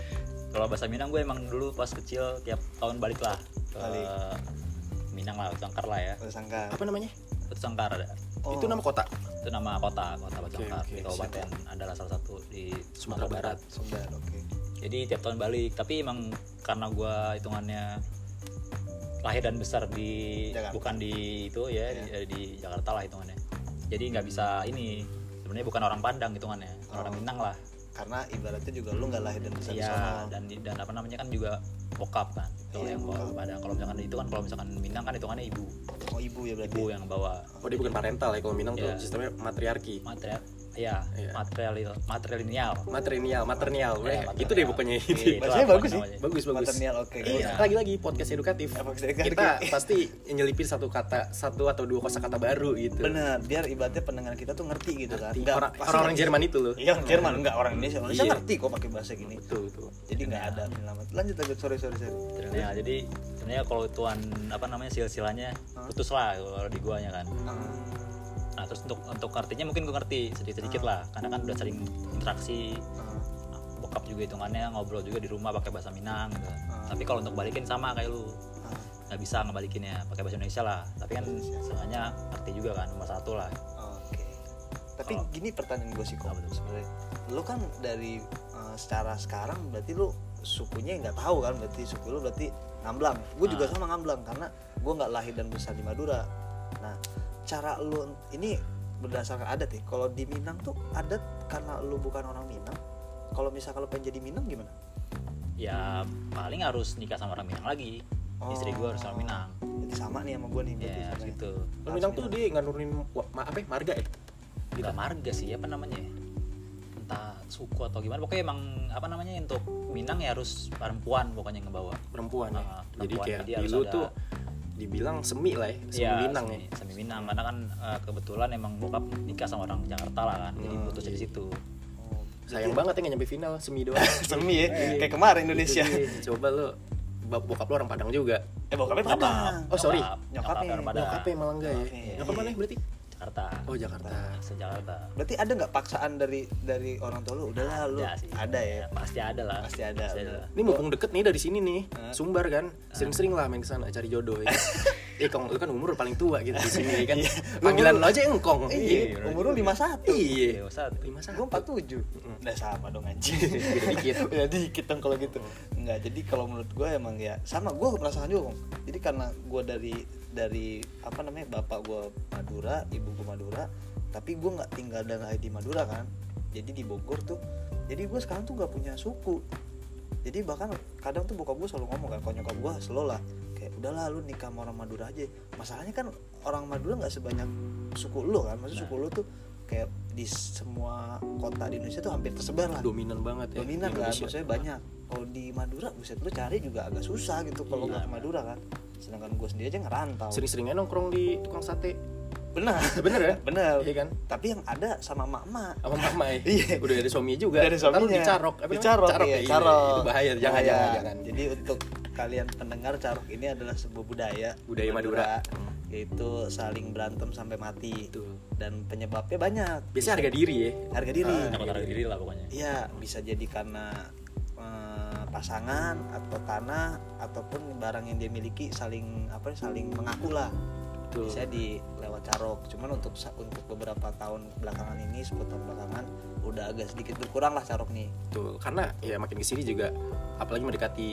Speaker 3: kalau bahasa Minang gue emang dulu pas kecil tiap tahun balik lah ke
Speaker 1: Balik.
Speaker 3: Minang lah Sangkar lah ya
Speaker 1: Gak sangka
Speaker 2: apa namanya
Speaker 3: Sangkar ada
Speaker 1: Oh,
Speaker 2: itu nama kota
Speaker 3: itu nama kota kota
Speaker 2: Oke,
Speaker 3: Batangkar
Speaker 2: oke,
Speaker 3: di kabupaten adalah salah satu di
Speaker 2: Sumatera
Speaker 3: Sumatera Barat
Speaker 1: Sundar oke
Speaker 3: jadi tiap tahun balik tapi emang karena gue hitungannya lahir dan besar di
Speaker 1: Jakarta. Iya.
Speaker 3: bukan di itu ya di, di Jakarta lah hitungannya jadi nggak bisa ini sebenarnya bukan orang Padang hitungannya orang
Speaker 1: Hmm. Oh.
Speaker 3: Minang lah
Speaker 1: karena ibaratnya juga lu nggak lahir dan besar di sana
Speaker 3: Iya, dan di- dan apa namanya kan juga bokap kan.
Speaker 1: Oh.
Speaker 3: Kalau
Speaker 1: Iya,
Speaker 3: yang bawa
Speaker 1: bokap.
Speaker 3: pada kalau misalkan itu kan kalau misalkan Minang kan hitungannya ibu,
Speaker 1: oh ibu ya berarti
Speaker 3: ibu yang bawa
Speaker 2: oh dia bukan parental ya kalau minang tuh
Speaker 3: Iya.
Speaker 2: sistemnya matriarki
Speaker 3: material ya
Speaker 2: Iya.
Speaker 3: material materialinial.
Speaker 2: matrinial maternial ya,
Speaker 3: Iya,
Speaker 2: gitu
Speaker 3: maternial.
Speaker 2: deh pokoknya
Speaker 3: Iya, itu
Speaker 1: Bahasanya
Speaker 3: apa
Speaker 1: bagus sih.
Speaker 3: namanya.
Speaker 2: [laughs] bagus bagus
Speaker 1: Maternial, oke.
Speaker 2: Iya,
Speaker 3: Iya.
Speaker 2: lagi-lagi podcast edukatif
Speaker 1: Eh, maksudnya kan-
Speaker 2: kita pasti nyelipin satu kata satu atau dua kosakata baru gitu
Speaker 1: bener biar ibaratnya pendengar kita tuh ngerti gitu kan
Speaker 2: Ngerti.
Speaker 1: Nggak-
Speaker 2: Orang-
Speaker 1: pasti
Speaker 2: orang-orang
Speaker 1: ngerti.
Speaker 2: Jerman itu loh
Speaker 1: Iya orang Jerman enggak orang Indonesia. Orang Indonesia
Speaker 2: Iya.
Speaker 1: ngerti kok pakai bahasa gini.
Speaker 2: betul betul
Speaker 1: Jadi nggak
Speaker 3: Iya.
Speaker 1: ada penyelamat. Lanjut lanjut sorry sorry sorry.
Speaker 3: Materialinial. Jadi sebenarnya kalau tuan apa namanya silsilanya
Speaker 1: Hah?
Speaker 3: putus lah kalau di guanya kan.
Speaker 1: Ah,
Speaker 3: Nah terus untuk untuk artinya mungkin gue ngerti sedikit sedikit lah karena kan udah sering interaksi
Speaker 1: ah,
Speaker 3: bokap juga hitungannya ngobrol juga di rumah pakai bahasa Minang gitu.
Speaker 1: Ah.
Speaker 3: Tapi kalau untuk balikin sama kayak lu
Speaker 1: ah,
Speaker 3: nggak bisa ngebalikinnya pakai bahasa Indonesia lah tapi kan sebenarnya arti juga kan nomor satu lah
Speaker 1: Oke. Tapi
Speaker 3: Kalau-
Speaker 1: gini pertanyaan gue sih kok
Speaker 3: Oh. Apa tuh?
Speaker 1: sebenarnya. Lu kan dari eh, secara sekarang berarti lu sukunya nggak tahu kan berarti suku lu berarti ngamblang. Gue juga
Speaker 3: Ah.
Speaker 1: sama ngamblang karena gue nggak lahir dan besar di Madura. Nah cara lu ini berdasarkan adat ya. Kalau di Minang tuh adat karena lu bukan orang Minang. Kalau misalkan lu pengen jadi Minang gimana?
Speaker 3: ya paling harus nikah sama orang Minang lagi istri gue harus orang Minang
Speaker 1: Berarti sama nih sama gue nih Oh, berarti
Speaker 3: ya
Speaker 1: sama ya.
Speaker 3: gitu
Speaker 2: Lo minang tuh dia nggak nurunin wa- ma- apa ya marga ya
Speaker 3: kita marga sih apa namanya ya? entah suku atau gimana pokoknya emang apa namanya untuk Minang ya harus perempuan pokoknya yang ngebawa
Speaker 2: perempuan ya
Speaker 3: Ah,
Speaker 2: jadi
Speaker 3: perempuan.
Speaker 2: kayak
Speaker 3: Jadi
Speaker 2: di
Speaker 3: harus
Speaker 2: lu
Speaker 3: ada- Iya,
Speaker 2: tuh dibilang semi lah ya semi minang ya
Speaker 3: semi, semi Minang karena kan eh, kebetulan emang bokap nikah sama orang Jakarta lah kan jadi
Speaker 2: Hmm,
Speaker 3: putus dari
Speaker 2: iya.
Speaker 3: situ
Speaker 1: Oh,
Speaker 2: sayang banget ya nggak nyampe final semi doang
Speaker 3: [laughs]
Speaker 1: semi ya kayak kemarin Indonesia
Speaker 2: coba lo bap- bokap lo orang Padang juga
Speaker 1: eh bokapnya padang
Speaker 2: oh sorry
Speaker 1: Nyokapnya. iya.
Speaker 3: nyokapnya orang Padang.
Speaker 2: nyokap ya malah enggak ya
Speaker 1: Oke.
Speaker 2: nyokap mana ya berarti
Speaker 3: Jakarta
Speaker 2: oh Jakarta
Speaker 3: asli Jakarta
Speaker 1: berarti ada nggak paksaan dari dari orang tua lu udahlah lu
Speaker 3: Ada sih.
Speaker 1: ada ya
Speaker 3: pasti ada lah
Speaker 1: Pasti ada.
Speaker 2: ini mumpung deket nih dari sini nih Sumbar kan sering-sering lah main ke sana cari
Speaker 1: [laughs]
Speaker 2: jodoh ya Eh, kong lu kan umur paling tua gitu di sini ya kan. Panggilan lo aja engkong.
Speaker 1: iya umur lu lima satu
Speaker 2: Iya.
Speaker 3: Iya, satu.
Speaker 2: Lima
Speaker 1: gue
Speaker 2: satu.
Speaker 1: empat tujuh udah sama dong anjing [laughs]
Speaker 2: Beda dikit.
Speaker 1: ya dikit dong kalau gitu nggak jadi kalau menurut gue emang ya sama gue penasaran juga Kong. jadi karena gue dari dari apa namanya bapak gue Madura ibu gue Madura tapi gue nggak tinggal dan lahir di Madura kan jadi di Bogor tuh jadi gue sekarang tuh nggak punya suku jadi bahkan kadang tuh bokap gue selalu ngomong kan kalau nyokap gue selalu lah kayak udahlah lu nikah sama orang Madura aja masalahnya kan orang Madura nggak sebanyak suku lu kan maksud
Speaker 3: Nah.
Speaker 1: suku lu tuh kayak di semua kota di Indonesia tuh hampir tersebar lah
Speaker 2: Dominan banget ya.
Speaker 1: dominan
Speaker 2: di
Speaker 1: kan
Speaker 2: Indonesia.
Speaker 1: maksudnya banyak kalau di Madura buset lu cari juga agak susah gitu
Speaker 2: Iya,
Speaker 1: kalau nggak ke Madura kan sedangkan gue sendiri aja ngerantau
Speaker 2: Sering-sering aja nongkrong di tukang
Speaker 1: [laughs]
Speaker 2: sate.
Speaker 1: benar
Speaker 2: [laughs] Bener ya?
Speaker 1: benar
Speaker 2: Iya kan?
Speaker 1: tapi yang ada sama mak-mak
Speaker 2: Sama mama ya.
Speaker 1: Iya.
Speaker 2: Udah ada suaminya juga.
Speaker 1: Udah ada
Speaker 2: Ntar lu
Speaker 1: suaminya.
Speaker 2: dicarok. Apa namanya?
Speaker 1: dicarok,
Speaker 2: ya.
Speaker 1: iya,
Speaker 2: Iya,
Speaker 1: carok.
Speaker 2: Itu bahaya. Jangan,
Speaker 1: Bahaya.
Speaker 2: jangan, jangan.
Speaker 1: Jadi untuk kalian pendengar carok ini adalah sebuah budaya
Speaker 2: Budaya Madura.
Speaker 1: yaitu saling berantem sampai mati
Speaker 2: Betul.
Speaker 1: dan penyebabnya banyak.
Speaker 2: Biasanya harga diri ya.
Speaker 1: harga diri.
Speaker 2: Ah,
Speaker 3: Takut taruh diri lah pokoknya.
Speaker 1: Iya, bisa jadi karena eh, pasangan atau tanah ataupun barang yang dia miliki saling apa ya, saling mengaku lah
Speaker 2: Betul.
Speaker 1: bisa di lewat carok cuman untuk sa- untuk beberapa tahun belakangan ini 10 tahun belakangan udah agak sedikit berkurang lah carok nih
Speaker 2: Betul. Karena ya makin kesini juga apalagi mendekati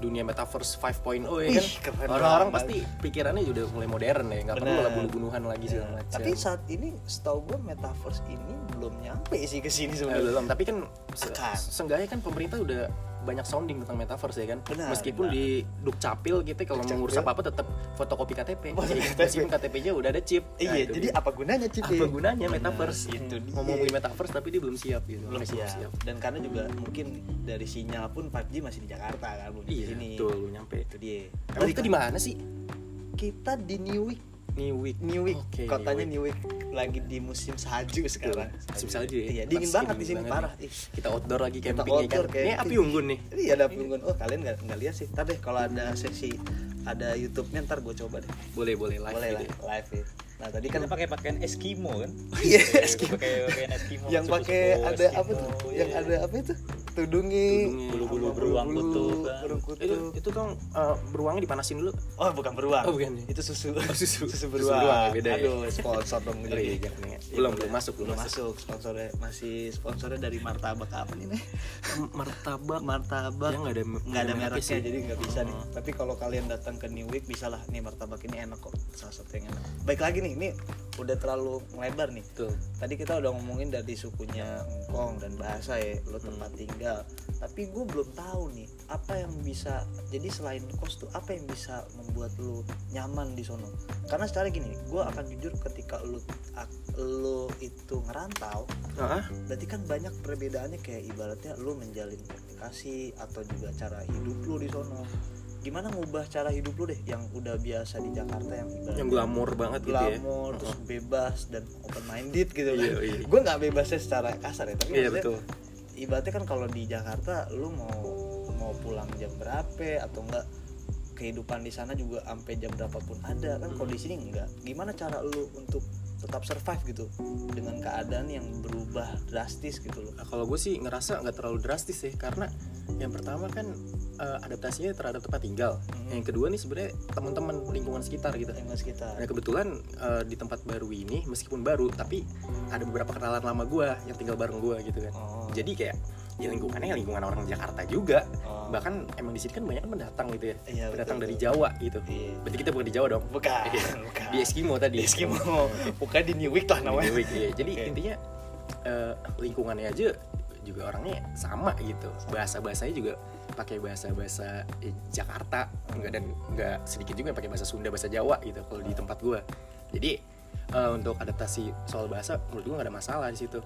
Speaker 2: dunia metaverse 5.0 ya
Speaker 1: Ih,
Speaker 2: kan.
Speaker 1: keren
Speaker 2: Orang-orang
Speaker 1: banget.
Speaker 2: pasti pikirannya udah mulai modern ya. Nggak perlu
Speaker 1: Bener. Iya,
Speaker 2: lah bunuh-bunuhan lagi segala macam.
Speaker 1: Ya.
Speaker 2: Eh,
Speaker 1: Tapi saat ini setahu gue metaverse ini belum nyampe sih ke sini
Speaker 2: Eh,
Speaker 1: sebenarnya.
Speaker 2: belum, tapi kan se-
Speaker 1: Akan.
Speaker 2: seenggaknya kan pemerintah udah banyak sounding tentang metaverse ya kan.
Speaker 1: Benar,
Speaker 2: Meskipun
Speaker 3: benar.
Speaker 2: di Dukcapil kita kalau
Speaker 1: Dukcapil.
Speaker 2: mau ngurus apa-apa tetap fotokopi
Speaker 1: Fotokopi
Speaker 2: KTP.
Speaker 1: KTP.
Speaker 2: Jadi Iya, meskipun KTP-nya udah ada chip. Nah,
Speaker 1: Iya,
Speaker 2: itu
Speaker 1: jadi ya.
Speaker 2: dia.
Speaker 1: apa gunanya Cip?
Speaker 2: apa gunanya metaverse? Gitu.
Speaker 1: itu dia.
Speaker 2: Ngomongin metaverse tapi dia belum siap gitu.
Speaker 1: Iya. belum
Speaker 2: Masih
Speaker 1: siap. Dan karena juga mungkin dari sinyal pun 4G masih di Jakarta kan, belum di
Speaker 2: Iya,
Speaker 1: sini.
Speaker 2: betul, belum nyampe.
Speaker 1: Itu dia. kan
Speaker 2: Emang itu di mana sih?
Speaker 1: kita di Newark,
Speaker 2: Newick.
Speaker 1: Newark.
Speaker 2: Oke,
Speaker 1: Kotanya Newark lagi di musim salju
Speaker 2: Gitu.
Speaker 1: sekarang.
Speaker 2: Misalnya dia.
Speaker 1: kan? Iya, dingin banget di sini parah. Ih,
Speaker 2: Kita outdoor lagi camping ya kan.
Speaker 1: outdoor
Speaker 2: Ini
Speaker 1: camping.
Speaker 2: api unggun nih.
Speaker 1: Ini ada punggung. Oh, kalian nggak nggak lihat sih. Ntar deh kalau ada sesi ada YouTube-nya ntar gue coba deh.
Speaker 2: Boleh, boleh live. Iya,
Speaker 1: Boleh lah,
Speaker 2: gitu ya.
Speaker 1: live ya. Nah, tadi
Speaker 3: Kan
Speaker 1: kan
Speaker 3: pakai pakaian Eskimo kan?
Speaker 1: Iya,
Speaker 3: Eskimo. Pakai pakaian Eskimo.
Speaker 1: yang
Speaker 3: suku-suku
Speaker 1: pakai
Speaker 2: Oh,
Speaker 1: ada
Speaker 3: Eskimo,
Speaker 1: apa tuh
Speaker 3: iya.
Speaker 1: yang ada apa itu tudungnya
Speaker 2: Tudungnya.
Speaker 3: Bulu-bulu
Speaker 1: sama
Speaker 3: beruang
Speaker 1: bulu-bulu,
Speaker 3: kutub, kan.
Speaker 1: beruang
Speaker 2: Itu,
Speaker 1: kutub
Speaker 2: itu kan eh, beruangnya dipanasin dulu.
Speaker 1: oh bukan beruang
Speaker 2: Oh, bukan.
Speaker 1: itu susu
Speaker 2: susu.
Speaker 1: [laughs] susu
Speaker 2: Susu
Speaker 1: beruang,
Speaker 2: beruang, beda ya.
Speaker 1: aduh sponsor dong
Speaker 2: Oh,
Speaker 1: jadi
Speaker 2: iya, jangan ya. Belum, belum masuk, belum
Speaker 1: belum masuk sponsornya masih sponsornya dari martabak apa nih Neh?
Speaker 2: Martabak.
Speaker 1: martabak
Speaker 2: Ya, nggak ada-
Speaker 1: nggak ada ya. Oh.
Speaker 2: nggak ada
Speaker 1: mereknya
Speaker 2: sih.
Speaker 1: jadi nggak bisa nih tapi kalau kalian datang ke New Week bisa lah nih martabak ini enak kok salah satu yang enak baik lagi nih ini udah terlalu melebar nih
Speaker 2: Tuh.
Speaker 1: tadi kita udah ngomongin dari sukunya Hongkong dan bahasa ya lo tempat tinggal tapi gue belum tahu nih apa yang bisa jadi selain kos tuh apa yang bisa membuat lo nyaman di sono karena secara gini gue akan jujur ketika lo lo itu ngerantau
Speaker 2: Heeh.
Speaker 1: berarti kan banyak perbedaannya kayak ibaratnya lu menjalin komunikasi atau juga cara hidup lu di sono gimana ngubah cara hidup lu deh yang udah biasa di Jakarta yang ibaratnya
Speaker 2: yang glamor banget gitu ya.
Speaker 1: glamor terus bebas dan open minded gitu kan
Speaker 2: Iya, iya.
Speaker 1: gue nggak bebasnya secara kasar ya tapi
Speaker 2: Iya
Speaker 1: maksudnya,
Speaker 2: betul.
Speaker 1: ibaratnya kan kalau di Jakarta lu mau mau pulang jam berapa atau enggak kehidupan di sana juga sampai jam berapapun ada
Speaker 2: Hmm.
Speaker 1: kan kalau di sini enggak gimana cara lu untuk tetap survive gitu dengan keadaan yang berubah drastis gitu loh
Speaker 2: Nah, kalau gue sih ngerasa nggak terlalu drastis sih karena yang pertama kan eh, adaptasinya terhadap tempat tinggal.
Speaker 1: Mhm.
Speaker 2: Yang kedua nih sebenarnya teman-teman lingkungan sekitar gitu.
Speaker 1: yang kita
Speaker 2: Nah kebetulan eh, di tempat baru ini meskipun baru tapi ada beberapa kenalan lama gue yang tinggal bareng gue gitu kan.
Speaker 1: oh,
Speaker 2: Jadi kayak ya lingkungannya lingkungan orang Jakarta juga.
Speaker 1: oh.
Speaker 2: Bahkan emang di sini kan banyak pendatang gitu ya.
Speaker 1: Iya,
Speaker 2: pendatang
Speaker 1: betul,
Speaker 2: dari
Speaker 1: betul.
Speaker 2: Jawa gitu.
Speaker 1: Iya.
Speaker 2: Berarti kita bukan di Jawa dong.
Speaker 1: bukan
Speaker 2: Iya.
Speaker 1: bukan
Speaker 2: Di Eskimo tadi.
Speaker 1: di Eskimo bukan di Newark lah
Speaker 2: Di
Speaker 1: namanya
Speaker 2: Dewi, iya. Jadi
Speaker 1: Oke.
Speaker 2: intinya eh, lingkungannya aja juga orangnya sama gitu. Bahasa bahasanya juga pakai bahasa bahasa Jakarta, enggak dan enggak sedikit juga yang pakai bahasa Sunda, bahasa Jawa gitu kalau di tempat gua. Jadi eh, untuk adaptasi soal bahasa menurut gua nggak ada masalah di situ.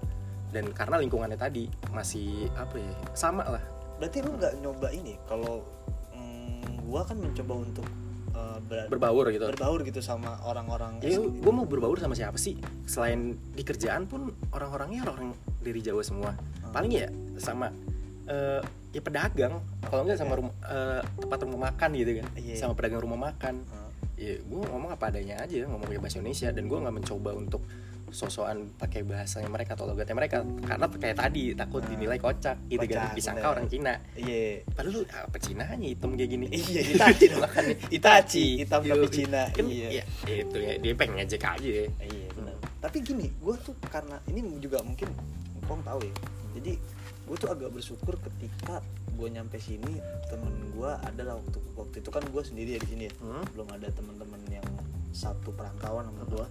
Speaker 2: Dan karena lingkungannya tadi masih apa ya sama lah.
Speaker 1: berarti lu nggak nyoba ini kalau mm, gua kan mencoba untuk eh, ber-
Speaker 2: Berbaur gitu.
Speaker 1: berbaur gitu sama orang-orang
Speaker 2: Ya,
Speaker 1: Eskimo.
Speaker 2: gue
Speaker 1: Ah.
Speaker 2: mau berbaur sama siapa sih? Selain di kerjaan pun orang-orangnya orang dari Jawa semua. paling ya sama eh, ya pedagang kalau enggak sama rumah eh, tempat rumah makan gitu kan
Speaker 1: Iya.
Speaker 2: sama pedagang rumah makan
Speaker 1: Hmm.
Speaker 2: ya gue ngomong apa adanya aja ngomong pakai bahasa Indonesia dan gue nggak mencoba untuk sosokan pakai bahasanya mereka atau logatnya mereka karena kayak tadi takut
Speaker 1: Hmm.
Speaker 2: dinilai kocak gitu kan
Speaker 1: Kocak,
Speaker 2: disangka
Speaker 1: bener.
Speaker 2: orang Cina
Speaker 1: Iya.
Speaker 2: padahal lu apa Cinanya hitam kayak gini
Speaker 1: Iya,
Speaker 2: Itachi [laughs] dong makannya
Speaker 1: Itachi, hitam tapi
Speaker 2: Yoi.
Speaker 1: Cina.
Speaker 2: kan iya. itu ya dia pengen ngejek aja ya
Speaker 1: Iya benar. Tapi gini, gue tuh karena ini juga mungkin Kong tahu ya. Jadi gue tuh agak bersyukur ketika gue nyampe sini temen gue adalah waktu waktu itu kan gue sendiri ya di sini ya.
Speaker 2: Hmm.
Speaker 1: belum ada teman-teman yang satu perantauan sama gue.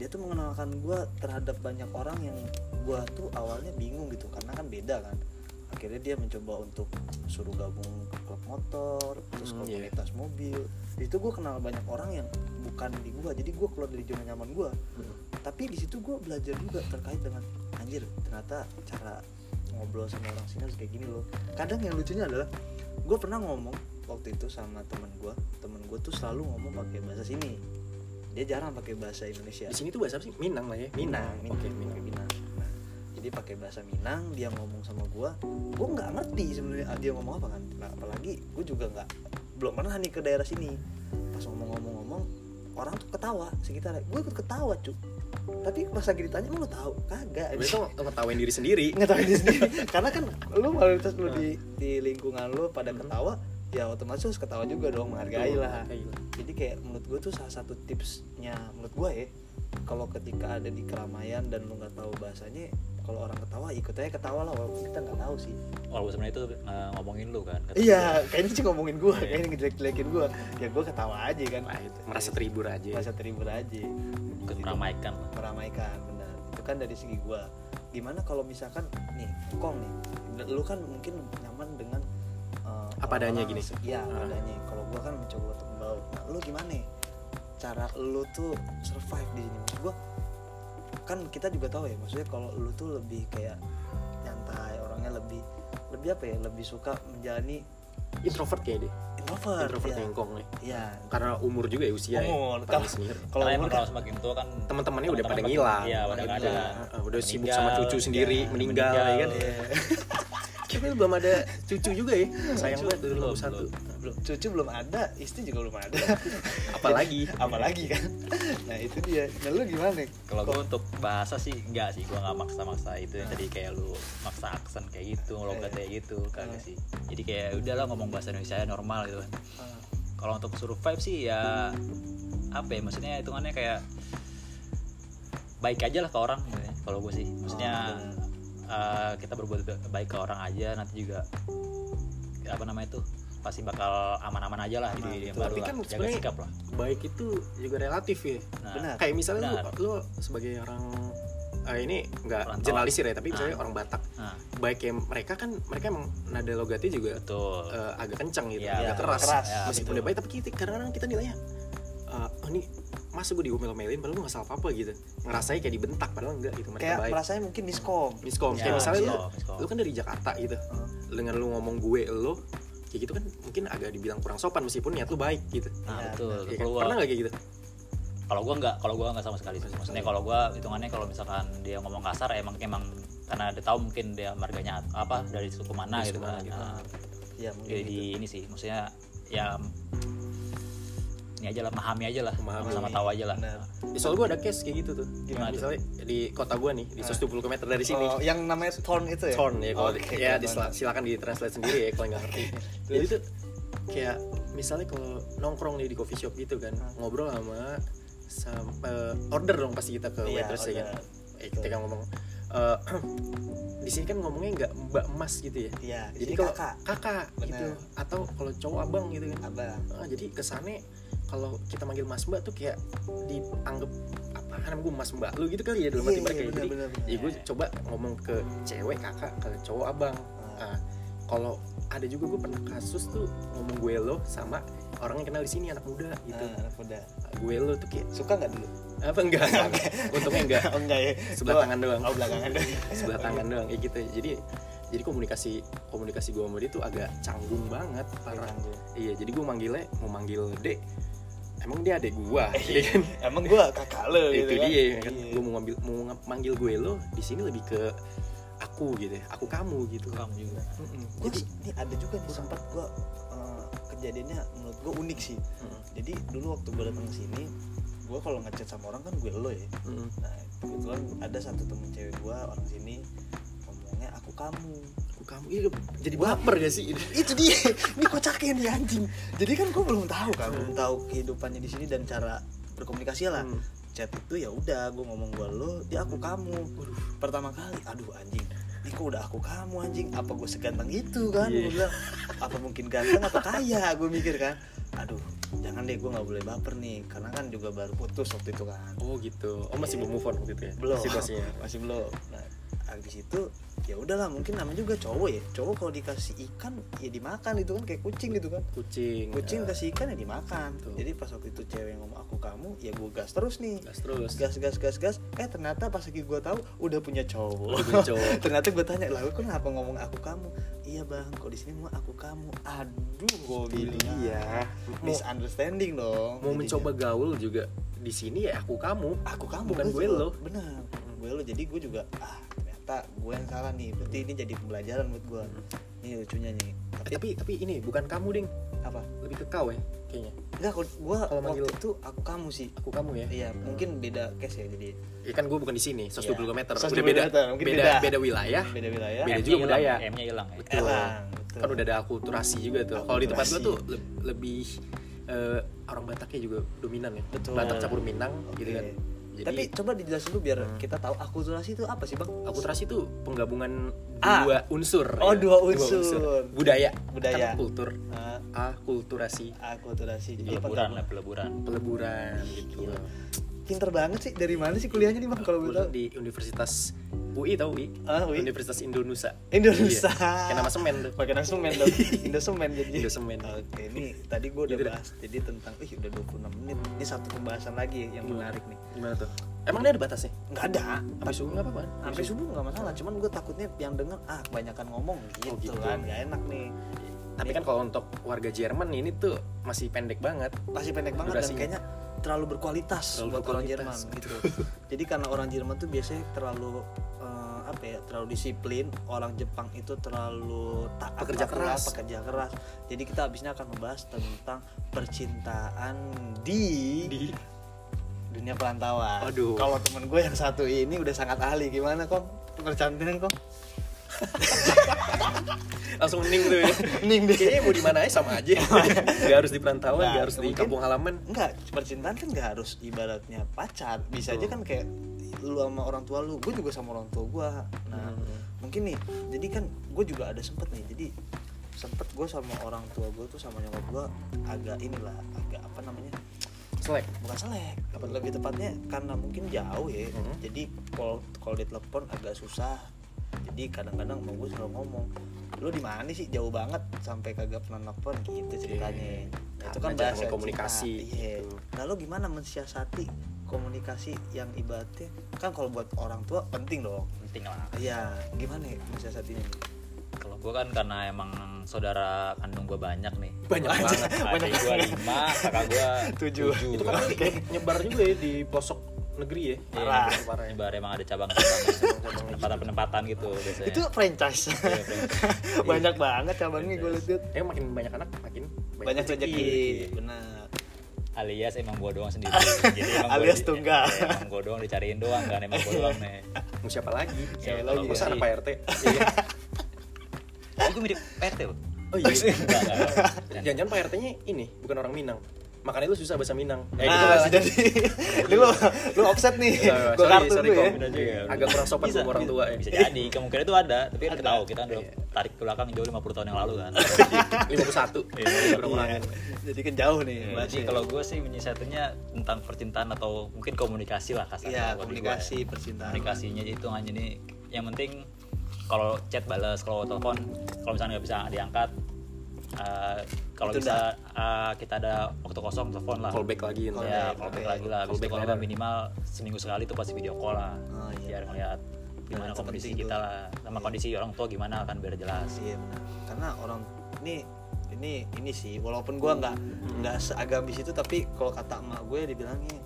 Speaker 1: Dia tuh mengenalkan gue terhadap banyak orang yang gue tuh awalnya bingung gitu karena kan beda kan. Akhirnya dia mencoba untuk suruh gabung ke klub motor, terus
Speaker 2: Hmm, iya.
Speaker 1: komunitas mobil. Di situ gue kenal banyak orang yang bukan di gue, jadi gue keluar dari zona nyaman gue
Speaker 2: Hmm.
Speaker 1: tapi di situ gue belajar juga terkait dengan anjir ternyata cara ngobrol sama orang sini harus kayak gini loh kadang yang lucunya adalah gue pernah ngomong waktu itu sama temen gue temen gue tuh selalu ngomong pakai bahasa sini dia jarang pakai bahasa Indonesia
Speaker 2: di sini tuh bahasa apa sih Ya. Minang lah ya
Speaker 1: Minang,
Speaker 2: oke
Speaker 1: Minang,
Speaker 2: Minang
Speaker 1: Minang. Nah, jadi pakai bahasa Minang dia ngomong sama gue gue nggak ngerti sebenarnya dia ngomong apa kan nah, apalagi gue juga nggak belum pernah nih ke daerah sini pas ngomong-ngomong-ngomong orang tuh ketawa sekitar gue ikut ketawa cu tapi pas lagi ditanya lu tahu kagak
Speaker 2: Berarti lo ngetawain diri sendiri
Speaker 1: nggak tahu diri [laughs] sendiri karena kan lu mayoritas lu di di lingkungan lu pada
Speaker 2: Hmm.
Speaker 1: ketawa ya otomatis harus ketawa juga dong menghargai lah
Speaker 2: Hargai lah.
Speaker 1: jadi kayak menurut gue tuh salah satu tipsnya menurut gue ya kalau ketika ada di keramaian dan lu nggak tahu bahasanya kalau orang ketawa ikut aja ketawa lah walaupun kita nggak tahu sih
Speaker 3: walaupun sebenarnya itu eh, ngomongin lu kan kata
Speaker 1: iya kayaknya sih ngomongin gue [laughs] kayaknya ngejelek-jelekin gue ya gue ketawa aja kan
Speaker 2: Wah, itu merasa terhibur aja
Speaker 1: merasa terhibur aja
Speaker 3: dia, ikut meramaikan lah.
Speaker 1: meramaikan benar itu kan dari segi gua gimana kalau misalkan nih kong nih lu kan mungkin nyaman dengan eh,
Speaker 2: Apa adanya
Speaker 1: orang-orang
Speaker 2: gini?
Speaker 1: se- iya apa
Speaker 2: Ah.
Speaker 1: adanya kalau gua kan mencoba untuk membaur nah lu gimana nih? cara lu tuh survive di sini maksud gua kan kita juga tahu ya maksudnya kalau lu tuh lebih kayak nyantai orangnya lebih lebih apa ya lebih suka menjalani
Speaker 2: introvert kayaknya deh
Speaker 1: introvert,
Speaker 2: introvert
Speaker 1: ya.
Speaker 2: ngengkong nih
Speaker 1: Iya.
Speaker 2: karena umur juga ya usia
Speaker 1: Umur,
Speaker 2: ya Paling
Speaker 1: kalau-
Speaker 2: senior.
Speaker 1: kalau
Speaker 3: Karena
Speaker 1: umur
Speaker 3: emang
Speaker 1: kan
Speaker 3: kalau semakin tua kan
Speaker 2: teman-temannya udah pada
Speaker 3: teman-teman makin-
Speaker 2: ngilang
Speaker 3: iya udah nggak
Speaker 2: Makin-
Speaker 3: ada
Speaker 2: Ah, udah sibuk sama cucu sendiri
Speaker 1: ya,
Speaker 2: meninggal, ya kan
Speaker 1: Iya.
Speaker 2: kita belum ada cucu juga ya sayang
Speaker 1: Cucu
Speaker 2: banget udah
Speaker 3: belum,
Speaker 2: nomor satu
Speaker 1: belum cucu belum ada istri juga belum
Speaker 2: [laughs]
Speaker 1: ada
Speaker 2: apalagi
Speaker 1: apalagi kan nah itu dia nah lu gimana nih
Speaker 3: kalau gue untuk bahasa sih enggak sih gue nggak maksa-maksa itu yang tadi kayak lu maksa aksen kayak gitu
Speaker 2: Iya,
Speaker 3: logat kayak gitu kagak sih jadi kayak udahlah ngomong bahasa Indonesia aja normal gitu kan kalau untuk survive sih ya apa ya maksudnya hitungannya kayak baik aja lah ke orang gitu ya, kalau gue sih
Speaker 2: Oh,
Speaker 3: maksudnya eh, kita berbuat ba- baik ke orang aja nanti juga ya apa namanya itu pasti bakal aman-aman aja lah
Speaker 1: Aman,
Speaker 3: di
Speaker 1: betul.
Speaker 3: yang baru
Speaker 2: Tapi
Speaker 3: lah
Speaker 2: kan
Speaker 3: jaga
Speaker 2: sebenarnya-
Speaker 3: sikap lah
Speaker 2: baik itu juga relatif ya
Speaker 3: nah,
Speaker 1: benar.
Speaker 2: kayak misalnya
Speaker 3: Benar.
Speaker 2: lu, lu sebagai orang ah, ini
Speaker 3: Orang
Speaker 2: nggak
Speaker 3: tua.
Speaker 2: generalisir ya tapi misalnya
Speaker 3: Ah.
Speaker 2: orang Batak
Speaker 3: nah,
Speaker 2: baik kayak mereka kan mereka emang nada logatnya juga
Speaker 3: betul
Speaker 2: eh, agak kencang gitu
Speaker 3: Iya,
Speaker 2: agak keras,
Speaker 1: keras.
Speaker 3: Ya,
Speaker 2: meskipun
Speaker 3: betul.
Speaker 2: dia baik tapi kita, kadang-kadang kita nilainya eh, oh ini masa gue diomel-omelin padahal gue gak salah apa-apa gitu ngerasanya kayak dibentak padahal enggak gitu mereka
Speaker 1: kayak
Speaker 2: baik
Speaker 1: merasanya mungkin miskom
Speaker 2: miskom
Speaker 3: Ya,
Speaker 2: kayak misalnya lu
Speaker 3: miskom, miskom.
Speaker 2: lu kan dari Jakarta gitu
Speaker 3: Ah.
Speaker 1: Heeh.
Speaker 2: dengan lu ngomong gue lo kayak gitu kan mungkin agak dibilang kurang sopan meskipun niat lu baik gitu
Speaker 3: nah,
Speaker 1: Ya,
Speaker 3: betul
Speaker 2: Ya kan?
Speaker 3: Keluar.
Speaker 2: pernah gak kayak gitu
Speaker 3: kalau gua nggak kalau gua nggak sama sekali sih. maksudnya kalau gua hitungannya kalau misalkan dia ngomong kasar emang emang karena dia tahu mungkin dia marganya apa dari suku mana
Speaker 2: Dari
Speaker 3: gitu
Speaker 2: suku mana
Speaker 3: kan
Speaker 2: gitu.
Speaker 3: Nah,
Speaker 1: ya mungkin
Speaker 2: Iya,
Speaker 3: jadi ini sih maksudnya ya ini aja lah memahami aja lah
Speaker 2: Memahami.
Speaker 3: sama tahu aja lah
Speaker 1: Benar.
Speaker 2: ya, soal gue ada case kayak gitu tuh
Speaker 3: Gimana tuh?
Speaker 2: misalnya di kota gue nih di
Speaker 1: Ah.
Speaker 2: 120 km dari
Speaker 1: sini
Speaker 2: sini
Speaker 1: yang namanya torn itu ya
Speaker 2: Torn ya kalau
Speaker 1: Oke,
Speaker 2: ya
Speaker 1: torn.
Speaker 2: disela- silakan ditranslate sendiri ya kalau nggak
Speaker 1: [laughs]
Speaker 2: ngerti. Jadi tuh kayak misalnya kalau nongkrong nih di coffee shop gitu kan
Speaker 1: Hmm.
Speaker 2: ngobrol sama sampai order dong pasti kita ke
Speaker 1: Iya,
Speaker 2: waitress ya kan.
Speaker 1: order.
Speaker 2: Eh, kita kan ngomong eh, [clears throat] di sini kan ngomongnya nggak mbak emas gitu ya.
Speaker 1: iya
Speaker 2: Jadi
Speaker 1: jadi
Speaker 2: kalau
Speaker 1: kakak
Speaker 2: kakak gitu
Speaker 1: Bener.
Speaker 2: atau kalau cowok abang gitu kan.
Speaker 1: abang
Speaker 2: Ah, jadi kesannya kalau kita manggil mas mbak tuh kayak dianggap apa namanya gue mas mbak lu gitu kali ya dalam hati
Speaker 1: Iya,
Speaker 2: mereka
Speaker 1: iya,
Speaker 2: ya. Jadi
Speaker 1: benar, benar,
Speaker 2: Ya
Speaker 1: benar.
Speaker 2: gue coba ngomong ke cewek kakak, ke cowok abang.
Speaker 1: Ah.
Speaker 2: Ah, kalau ada juga gue pernah kasus tuh ngomong gue lo sama orang yang kenal di sini anak muda gitu.
Speaker 1: Nah, anak muda
Speaker 2: Gue lo tuh kayak
Speaker 1: suka nggak dulu [laughs]
Speaker 2: apa enggak?
Speaker 1: Oke.
Speaker 2: Untungnya enggak.
Speaker 1: oh enggak ya
Speaker 2: Sebelah
Speaker 1: Lu-
Speaker 2: tangan doang.
Speaker 1: oh belakangan doang
Speaker 2: Sebelah tangan doang ya gitu. Jadi jadi komunikasi komunikasi gue sama dia tuh agak canggung banget parah. Iya, jadi gue manggilnya mau manggil Dek. Emang dia adek gua, ya
Speaker 1: Iya.
Speaker 2: kan?
Speaker 1: emang gua kakak lo gitu
Speaker 2: itu
Speaker 1: kan
Speaker 2: dia ya kan
Speaker 1: Iya.
Speaker 2: gue mau ngambil mau ngambil- manggil gue lo di sini lebih ke aku aku gitu ya aku kamu gitu
Speaker 3: kamu juga
Speaker 2: Mm-mm.
Speaker 1: Gua
Speaker 2: jadi
Speaker 1: sih- ini ada juga nih sempat gue kejadiannya menurut gue unik sih
Speaker 2: mm-mm,
Speaker 1: jadi dulu waktu gue datang ke sini gue kalau ngechat sama orang kan gue lo ya
Speaker 2: mm-mm.
Speaker 1: nah kebetulan ada satu temen cewek gue orang sini ngomongnya aku kamu
Speaker 2: aku kamu iya jadi
Speaker 1: Wah.
Speaker 2: baper gak sih
Speaker 1: itu dia [laughs] ini kocaknya nih anjing jadi kan gue belum tahu kan belum tahu kehidupannya di sini dan cara berkomunikasi lah
Speaker 2: Hmm.
Speaker 1: chat itu ya udah gue ngomong gue lo dia aku kamu pertama kali aduh anjing ini kok udah aku kamu anjing apa gue seganteng itu kan
Speaker 2: Iya.
Speaker 1: gue bilang apa mungkin ganteng apa kaya gue mikir kan aduh jangan deh gue nggak boleh baper nih karena kan juga baru putus waktu itu kan
Speaker 2: oh gitu oh masih belum move on waktu itu ya
Speaker 1: belum
Speaker 2: situasinya
Speaker 1: masih belum nah habis itu ya udahlah mungkin namanya juga cowok ya cowok kalau dikasih ikan ya dimakan itu kan kayak kucing gitu kan
Speaker 2: kucing
Speaker 1: kucing
Speaker 2: eh,
Speaker 1: kasih ikan ya dimakan
Speaker 2: Betul.
Speaker 1: jadi pas waktu itu cewek ngomong aku kamu ya gue gas terus nih
Speaker 2: gas terus
Speaker 1: gas gas gas gas eh ternyata pas lagi gue tahu udah punya cowok [laughs]
Speaker 2: Udah cowok
Speaker 1: ternyata gue tanya lah "Lu kenapa ngomong aku kamu iya bang kok di sini mau aku kamu aduh gue bilang
Speaker 2: iya mau,
Speaker 1: misunderstanding dong
Speaker 2: mau
Speaker 1: jadinya.
Speaker 2: mencoba gaul juga di sini ya aku kamu
Speaker 1: aku kamu
Speaker 2: Bukan
Speaker 1: betul.
Speaker 2: gue lo.
Speaker 1: bener gue lo jadi gue juga ah ternyata gue yang salah nih berarti ini jadi pembelajaran buat gue ini lucunya nih
Speaker 2: Eh,
Speaker 1: tapi
Speaker 2: tapi tapi ini bukan kamu ding
Speaker 1: apa
Speaker 2: lebih ke kau ya kayaknya
Speaker 1: enggak kalau gue
Speaker 2: Kalau
Speaker 1: waktu
Speaker 2: manggil-
Speaker 1: itu aku kamu sih
Speaker 2: aku kamu ya
Speaker 1: iya mungkin beda case ya jadi
Speaker 2: ya kan gue bukan di sini 120
Speaker 1: Iya.
Speaker 2: kilometer
Speaker 1: 120
Speaker 2: udah beda
Speaker 1: kilometer, mungkin
Speaker 2: beda
Speaker 1: beda.
Speaker 2: beda wilayah
Speaker 1: beda wilayah
Speaker 2: Beda
Speaker 3: Kan M-nya
Speaker 2: juga
Speaker 3: hilang,
Speaker 2: budaya.
Speaker 3: M-nya hilang ya
Speaker 2: Betul.
Speaker 1: Elang, betul.
Speaker 2: kan udah ada akulturasi juga tuh kalau di tempat gue
Speaker 1: Gitu. Akulturasi.
Speaker 2: tuh le- lebih eh, orang Bataknya juga dominan ya
Speaker 1: Betul.
Speaker 2: Batak campur Minang
Speaker 1: Oke.
Speaker 2: gitu kan jadi
Speaker 1: tapi coba dijelasin dulu biar
Speaker 2: Hmm.
Speaker 1: kita tahu akulturasi itu apa sih bang
Speaker 2: akulturasi itu penggabungan
Speaker 1: Ah.
Speaker 2: Iya, dua unsur
Speaker 1: Oh, dua unsur.
Speaker 2: budaya
Speaker 1: Budaya.
Speaker 2: kan kultur
Speaker 1: Ah,
Speaker 2: akulturasi
Speaker 1: akulturasi Iya, Jadi
Speaker 3: peleburan
Speaker 1: pakai-
Speaker 3: lah peleburan
Speaker 2: peleburan gitu
Speaker 1: Gila. pinter banget sih dari mana sih kuliahnya nih bang Iya. kalau
Speaker 2: Gua
Speaker 1: boleh tahu
Speaker 2: tuh di Universitas UI tau UI
Speaker 1: Ah, UI.
Speaker 2: Universitas Indonesia
Speaker 1: Indonesia
Speaker 2: Iya. kayak nama semen tuh
Speaker 1: pakai nama semen
Speaker 2: [laughs]
Speaker 1: dong Indosemen jadi
Speaker 2: Indosemen.
Speaker 1: oke ini tadi gue udah
Speaker 2: Gitu dah.
Speaker 1: bahas jadi tentang ih udah 26 menit ini satu pembahasan lagi yang
Speaker 2: Gimana?
Speaker 1: menarik nih
Speaker 2: gimana tuh emang ini ada batasnya
Speaker 1: nggak ada
Speaker 2: sampai subuh nggak apa-apa kan?
Speaker 1: sampai subuh nggak masalah cuman gue takutnya yang denger ah kebanyakan ngomong gitu,
Speaker 2: Oh, gitu.
Speaker 1: kan nggak enak nih
Speaker 2: tapi kan kalau untuk warga Jerman ini tuh masih pendek banget
Speaker 1: masih pendek banget dan
Speaker 2: Durasinya.
Speaker 1: kayaknya terlalu berkualitas
Speaker 2: Terlalu
Speaker 1: buat orang Jerman
Speaker 2: berkualitas,
Speaker 1: gitu jadi karena orang Jerman tuh biasanya terlalu eh, apa ya terlalu disiplin orang Jepang itu terlalu taat
Speaker 2: Pekerja
Speaker 1: aturan,
Speaker 2: keras.
Speaker 1: pekerja keras jadi kita habisnya akan membahas tentang percintaan di,
Speaker 2: di
Speaker 1: dunia perantauan
Speaker 2: Aduh.
Speaker 1: kalau temen gue yang satu ini udah sangat ahli gimana kok percantian kok
Speaker 2: langsung ning tuh ya
Speaker 1: ning deh
Speaker 2: kayaknya mau di mana aja sama aja nggak harus di perantauan
Speaker 1: Nah,
Speaker 2: nggak harus di
Speaker 1: mungkin-
Speaker 2: kampung halaman
Speaker 1: Enggak, percintaan kan nggak harus ibaratnya pacar Bisa aja
Speaker 2: Betul.
Speaker 1: kan kayak lu sama orang tua lu Gue juga sama orang tua gue Nah
Speaker 2: Hmm.
Speaker 1: mungkin nih, jadi kan gue juga ada sempet nih Jadi sempet gue sama orang tua gue tuh sama nyokap gue Agak inilah, agak apa namanya
Speaker 2: selek
Speaker 1: Bukan selek, apa lebih tepatnya karena mungkin jauh ya
Speaker 2: Hmm.
Speaker 1: Jadi kalau kalau ditelepon agak susah jadi kadang-kadang mau gue selalu ngomong lu di mana sih jauh banget sampai kagak pernah nelfon gitu ceritanya Nah, itu kan
Speaker 2: Karena jarang
Speaker 1: bahasa
Speaker 2: komunikasi
Speaker 1: cinta. Iya.
Speaker 2: gitu.
Speaker 1: Lalu gimana mensiasati komunikasi yang ibaratnya kan kalau buat orang tua penting dong.
Speaker 3: penting lah
Speaker 1: Iya, gimana ya mensiasatinya?
Speaker 3: kalau gue kan karena emang saudara kandung gue banyak nih
Speaker 2: banyak banget
Speaker 3: adik gue lima kakak
Speaker 2: [laughs]
Speaker 3: Iya, gue
Speaker 1: Tujuh.
Speaker 2: itu kan ini nyebar juga ya di pelosok negeri ya
Speaker 3: parah
Speaker 2: Iya, parah ya.
Speaker 3: nyebar emang ada
Speaker 2: [laughs]
Speaker 3: cabang-cabang gitu. penempatan penempatan gitu biasanya
Speaker 1: Itu franchise.
Speaker 3: Iya, franchise.
Speaker 1: [laughs] banyak banget cabangnya gue lihat.
Speaker 2: Eh makin banyak anak makin
Speaker 1: Banyak rezeki.
Speaker 3: rezeki.
Speaker 1: Benar.
Speaker 3: alias emang gue doang sendiri jadi emang gua-
Speaker 1: Alias tunggal.
Speaker 3: Iya, emang gue doang dicariin doang kan emang gue doang
Speaker 2: [laughs]
Speaker 3: nih
Speaker 2: Mau siapa lagi?
Speaker 1: Siapa
Speaker 2: Ya,
Speaker 1: lagi? Iya.
Speaker 2: Masa ada Pak RT?
Speaker 3: itu mirip PRT loh
Speaker 2: Oh iya.
Speaker 3: Enggak, enggak, enggak.
Speaker 2: Jangan-jangan Pak RT-nya ini bukan orang Minang. Makanya lu susah bahasa Minang. Eh, gitu
Speaker 1: Nah,
Speaker 2: lah.
Speaker 1: jadi [laughs] lu lu offset nih.
Speaker 2: Sorry,
Speaker 1: Gue kartu
Speaker 2: sorry,
Speaker 1: dulu ya.
Speaker 2: Kom. Agak kurang sopan sama orang tua ya.
Speaker 3: eh, bisa jadi kemungkinan itu ada
Speaker 1: Ada.
Speaker 3: tapi kan
Speaker 1: Iya.
Speaker 3: kita tahu kita kan udah tarik ke belakang jauh 50 tahun yang lalu kan
Speaker 2: 51.
Speaker 3: Iya,
Speaker 2: kurang-kurangan.
Speaker 1: Jadi kan jauh nih.
Speaker 3: jadi kalau gue sih menyiasatinya tentang percintaan atau mungkin komunikasi lah kasarnya
Speaker 1: ya
Speaker 3: buat gua.
Speaker 1: komunikasi percintaan.
Speaker 3: komunikasinya itu hanya nih yang penting kalau chat balas kalau telepon kalau misalnya nggak bisa diangkat eh, kalau
Speaker 1: Ditunda.
Speaker 3: bisa eh, kita ada waktu kosong telepon lah
Speaker 2: Callback lagi ntar.
Speaker 1: Callback.
Speaker 3: ya callback lagi lah habis itu
Speaker 2: Callback
Speaker 3: kalau
Speaker 2: letter.
Speaker 3: nggak minimal seminggu sekali tuh pasti video call lah
Speaker 1: Oh, iya.
Speaker 3: biar ngeliat gimana
Speaker 1: Balance
Speaker 3: kondisi
Speaker 1: penting
Speaker 3: kita
Speaker 1: tuh.
Speaker 3: lah sama kondisi orang tua gimana kan biar jelas
Speaker 1: Iya benar. Karena orang ini ini ini sih walaupun gua nggak nggak seagamis itu tapi kalau kata emak ya gue dibilangnya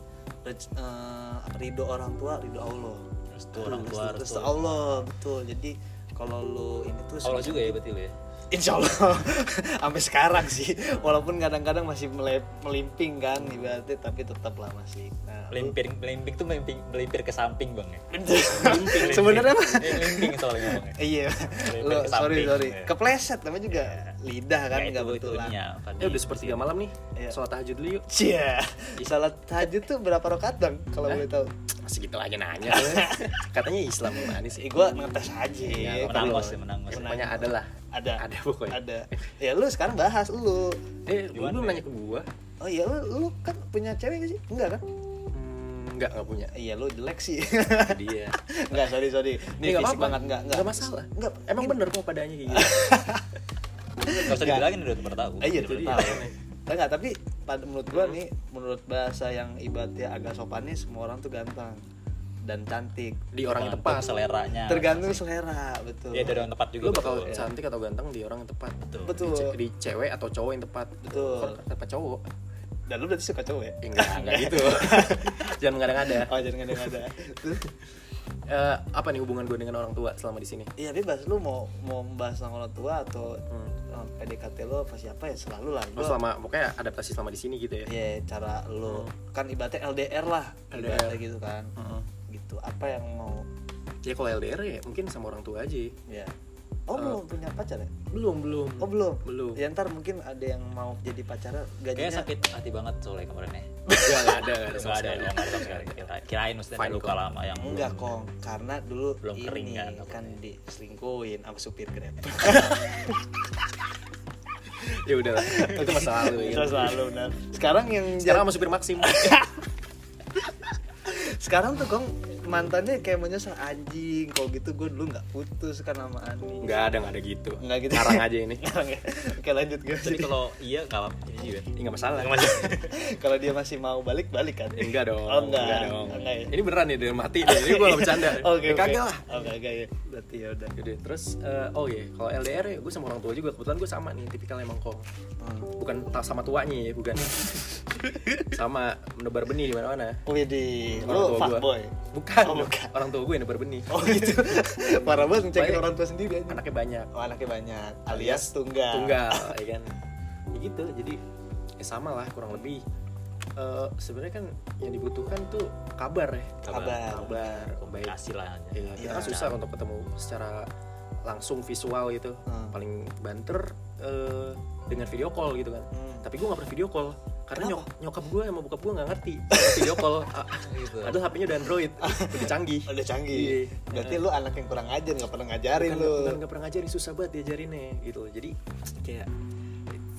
Speaker 1: rez- eh, apa, ridho orang tua ridho Allah.
Speaker 3: Restu orang tua,
Speaker 1: restu,
Speaker 3: restu
Speaker 1: Allah betul. Jadi kalau lu ini tuh
Speaker 3: Allah juga ya berarti lu ya
Speaker 1: Insya Allah [laughs] sampai sekarang sih walaupun kadang-kadang masih melep, melimping kan ibaratnya tapi tetaplah masih nah, lu-
Speaker 3: melimpir melimpir tuh melimpir, melimpir ke samping bang ya
Speaker 1: Melimping. sebenarnya mah
Speaker 3: Eh, melimping soalnya ngomongnya
Speaker 1: iya
Speaker 3: Melimping
Speaker 1: lo sorry
Speaker 3: ke samping.
Speaker 1: sorry
Speaker 3: Iya.
Speaker 1: kepleset namanya juga lidah kan
Speaker 3: Ya,
Speaker 1: nggak
Speaker 3: itu- itu
Speaker 1: betul
Speaker 3: ininya, Fadli.
Speaker 2: Ya udah sepertiga malam nih.
Speaker 1: Iya.
Speaker 2: Sholat tahajud dulu yuk.
Speaker 1: Cia, salat tahajud tuh berapa rakaat dong kalau boleh tahu?
Speaker 2: Masih gitu aja nanya. Katanya Islam manis sih.
Speaker 1: Eh, gua ngetes aja.
Speaker 3: Iya,
Speaker 2: Ya,
Speaker 1: kalau-
Speaker 3: menangos ya menangos
Speaker 2: Pokoknya ada lah.
Speaker 1: Ada.
Speaker 2: Ada pokoknya.
Speaker 1: Ada. Ya lu sekarang bahas lu.
Speaker 2: Eh, lu
Speaker 3: Gimana
Speaker 2: belum
Speaker 3: ya?
Speaker 2: nanya ke gua.
Speaker 1: Oh iya lu, lu kan punya cewek gak sih? Enggak kan?
Speaker 2: Hmm, enggak enggak punya.
Speaker 1: Iya lu jelek sih. [laughs]
Speaker 2: Dia.
Speaker 1: enggak sorry sorry. Ini
Speaker 2: nggak
Speaker 1: fisik
Speaker 2: apa-apa.
Speaker 1: banget enggak enggak.
Speaker 2: Nggak masalah.
Speaker 1: Enggak.
Speaker 2: Emang bener kok padanya kayak gitu.
Speaker 3: nggak usah dibilangin udah pada tahu
Speaker 1: Eh, iya
Speaker 2: Jadi,
Speaker 1: udah tahu.
Speaker 2: aneh.
Speaker 1: Tapi enggak tapi pada menurut gua nih menurut bahasa yang ibaratnya agak sopan nih semua orang tuh ganteng dan cantik.
Speaker 2: Di orang yang
Speaker 3: Tergantung
Speaker 2: tepat.
Speaker 3: seleranya
Speaker 2: Nah,
Speaker 1: Tergantung selera, betul.
Speaker 2: Iya,
Speaker 3: ya dari orang tepat juga
Speaker 2: Lu bakal Iya.
Speaker 3: betul.
Speaker 2: cantik atau ganteng di orang yang tepat.
Speaker 3: Betul.
Speaker 2: Di,
Speaker 1: betul.
Speaker 2: ce- di cewek atau cowok yang tepat.
Speaker 1: Betul.
Speaker 2: Kok tepat cowok.
Speaker 1: Dan lu berarti suka
Speaker 2: [laughs]
Speaker 1: cowok ya?
Speaker 2: Ya, enggak, enggak gitu. Jangan mengada-ngada.
Speaker 1: Oh, jangan ada-ada.
Speaker 2: Eh, apa nih hubungan gue dengan orang tua selama di sini?
Speaker 1: [laughs] Iya bebas lu mau mau membahas sama orang tua atau
Speaker 2: Hmm.
Speaker 1: eh, PDKT lu apa siapa ya selalu lah.
Speaker 2: Lu
Speaker 1: Gua-
Speaker 2: selama pokoknya adaptasi selama di sini gitu ya.
Speaker 1: Iya cara lu kan ibaratnya LDR lah
Speaker 2: LDR.
Speaker 1: ibaratnya gitu kan.
Speaker 2: Heeh.
Speaker 1: Gitu apa yang mau
Speaker 2: Ya kalau LDR ya mungkin sama orang tua aja.
Speaker 1: ya. Oh
Speaker 2: Eh.
Speaker 1: belum punya pacar ya?
Speaker 2: Belum, belum. [laughs]
Speaker 1: Oh belum.
Speaker 2: Belum.
Speaker 1: Ya ntar mungkin ada yang mau jadi pacar
Speaker 3: kayaknya
Speaker 1: gajinya.
Speaker 3: sakit hati banget soalnya kemarin ya
Speaker 2: Ya enggak ada, enggak ada sama
Speaker 3: nggak ada
Speaker 2: sekali.
Speaker 3: nggak ada sama sekali Kira- kirain mesti ada
Speaker 2: Fine,
Speaker 3: luka
Speaker 2: kok.
Speaker 3: lama yang
Speaker 1: Enggak kong, karena dulu
Speaker 3: Belum
Speaker 1: ini
Speaker 3: kering kan, apa
Speaker 1: kan diselingkuhin sama supir Grab.
Speaker 2: [laughs] Ya udahlah. Itu masa lalu
Speaker 1: [laughs]
Speaker 2: ya.
Speaker 1: Terus selalu benar. Sekarang yang
Speaker 2: Sekarang sama supir
Speaker 1: [laughs]
Speaker 2: Maxim.
Speaker 1: sekarang tuh kong mantannya kayak menyesal anjing kalau gitu gue dulu nggak putus kan sama Ani
Speaker 2: Enggak ada, enggak ada gitu.
Speaker 1: Nggak gitu.
Speaker 2: Ngarang aja ini.
Speaker 1: [laughs] Ngarang ya? oke lanjut gue
Speaker 3: jadi kalau iya nggak apa ini juga
Speaker 2: Ya enggak masalah.
Speaker 3: Nggak
Speaker 2: [laughs]
Speaker 3: masalah.
Speaker 1: [laughs] kalau dia masih mau balik balik kan
Speaker 2: Ya, enggak dong.
Speaker 1: Oh, enggak.
Speaker 2: dong.
Speaker 1: Enggak ya?
Speaker 2: Ini beneran nih dari mati. nih. Ini gue enggak bercanda.
Speaker 1: [laughs] oke
Speaker 2: Ya,
Speaker 1: oke
Speaker 2: Kagak lah.
Speaker 1: oke oke ya. berarti ya udah
Speaker 2: Yaudah, terus eh, oh iya, kalau LDR ya gue sama orang tua juga kebetulan gue sama nih tipikal emang kong
Speaker 1: Hmm.
Speaker 2: bukan ta- sama tuanya ya
Speaker 1: [laughs]
Speaker 2: bukan sama menebar benih di mana mana
Speaker 1: Widih,
Speaker 2: Orang
Speaker 1: lu
Speaker 2: tua gua.
Speaker 1: Oh, fuckboy
Speaker 2: bukan,
Speaker 1: Oh, bukan.
Speaker 2: orang tua gue yang nebar benih
Speaker 1: Oh
Speaker 2: [laughs]
Speaker 1: gitu Parah banget ngecekin
Speaker 2: Banyak.
Speaker 1: orang tua sendiri aja
Speaker 2: anaknya banyak
Speaker 1: Oh anaknya banyak Alias tunggal [laughs]
Speaker 2: tunggal ya kan ya gitu jadi ya sama lah kurang lebih Eh, sebenarnya kan yang dibutuhkan tuh kabar ya
Speaker 1: Kabar.
Speaker 2: kabar baik
Speaker 3: komunikasi lah
Speaker 2: ya, kita
Speaker 1: Iya.
Speaker 2: kan susah untuk ketemu secara langsung visual gitu
Speaker 1: Hmm.
Speaker 2: paling banter eh, dengan video call gitu kan
Speaker 1: Hmm.
Speaker 2: tapi gue gak pernah video call karena
Speaker 1: Kenapa?
Speaker 2: nyok nyokap gue sama bokap gue nggak ngerti video
Speaker 1: [laughs]
Speaker 2: call Ah,
Speaker 3: gitu
Speaker 2: padahal HP-nya udah Android udah canggih
Speaker 1: Udah
Speaker 2: Iya.
Speaker 1: canggih Berarti lu anak yang kurang ajar Gak pernah ngajarin
Speaker 2: Bukan-
Speaker 1: lu
Speaker 2: bukan nggak pernah ngajarin susah banget diajarinnya gitu loh. jadi kayak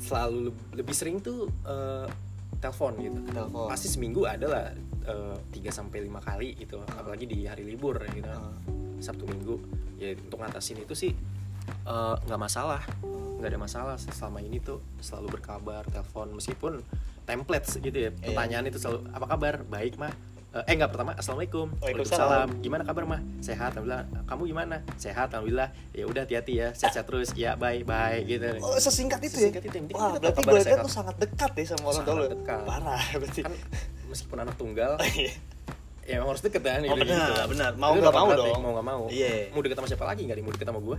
Speaker 2: selalu leb- lebih sering tuh eh, telepon gitu
Speaker 1: Telepon.
Speaker 2: pasti seminggu ada lah eh, tiga sampai lima kali gitu apalagi di hari libur ya gitu
Speaker 1: Ah.
Speaker 2: kan.
Speaker 1: Hmm.
Speaker 2: sabtu minggu ya untuk ngatasin itu sih eh, nggak masalah nggak ada masalah selama ini tuh selalu berkabar telepon meskipun
Speaker 1: Iya.
Speaker 2: templates gitu ya pertanyaan itu selalu apa kabar baik mah Eh, eh nggak pertama assalamualaikum
Speaker 1: Waalaikumsalam.
Speaker 2: gimana kabar mah sehat alhamdulillah kamu gimana sehat alhamdulillah ya udah hati-hati ya sehat-sehat terus ya bye bye gitu
Speaker 1: Oh sesingkat itu
Speaker 2: Sesingkat itu,
Speaker 1: ya?
Speaker 2: yang penting
Speaker 1: Wah
Speaker 2: kita
Speaker 1: berarti
Speaker 2: kabar
Speaker 1: gue lihat
Speaker 2: sehat.
Speaker 1: lu sangat dekat ya sama orang tua lu
Speaker 2: Sangat dekat.
Speaker 1: Parah berarti
Speaker 2: kan meskipun anak tunggal
Speaker 1: [laughs] Iya.
Speaker 2: ya emang harus deket kan
Speaker 1: Oh,
Speaker 2: gitu-gitu.
Speaker 1: benar, benar. Mau
Speaker 2: Itu
Speaker 1: nggak
Speaker 2: udah
Speaker 1: mau
Speaker 2: kontrak ya,
Speaker 1: dong.
Speaker 2: mau nggak mau
Speaker 1: Iya.
Speaker 2: mau deket sama siapa lagi nggak ada yang mau deket sama
Speaker 1: [laughs]
Speaker 2: gue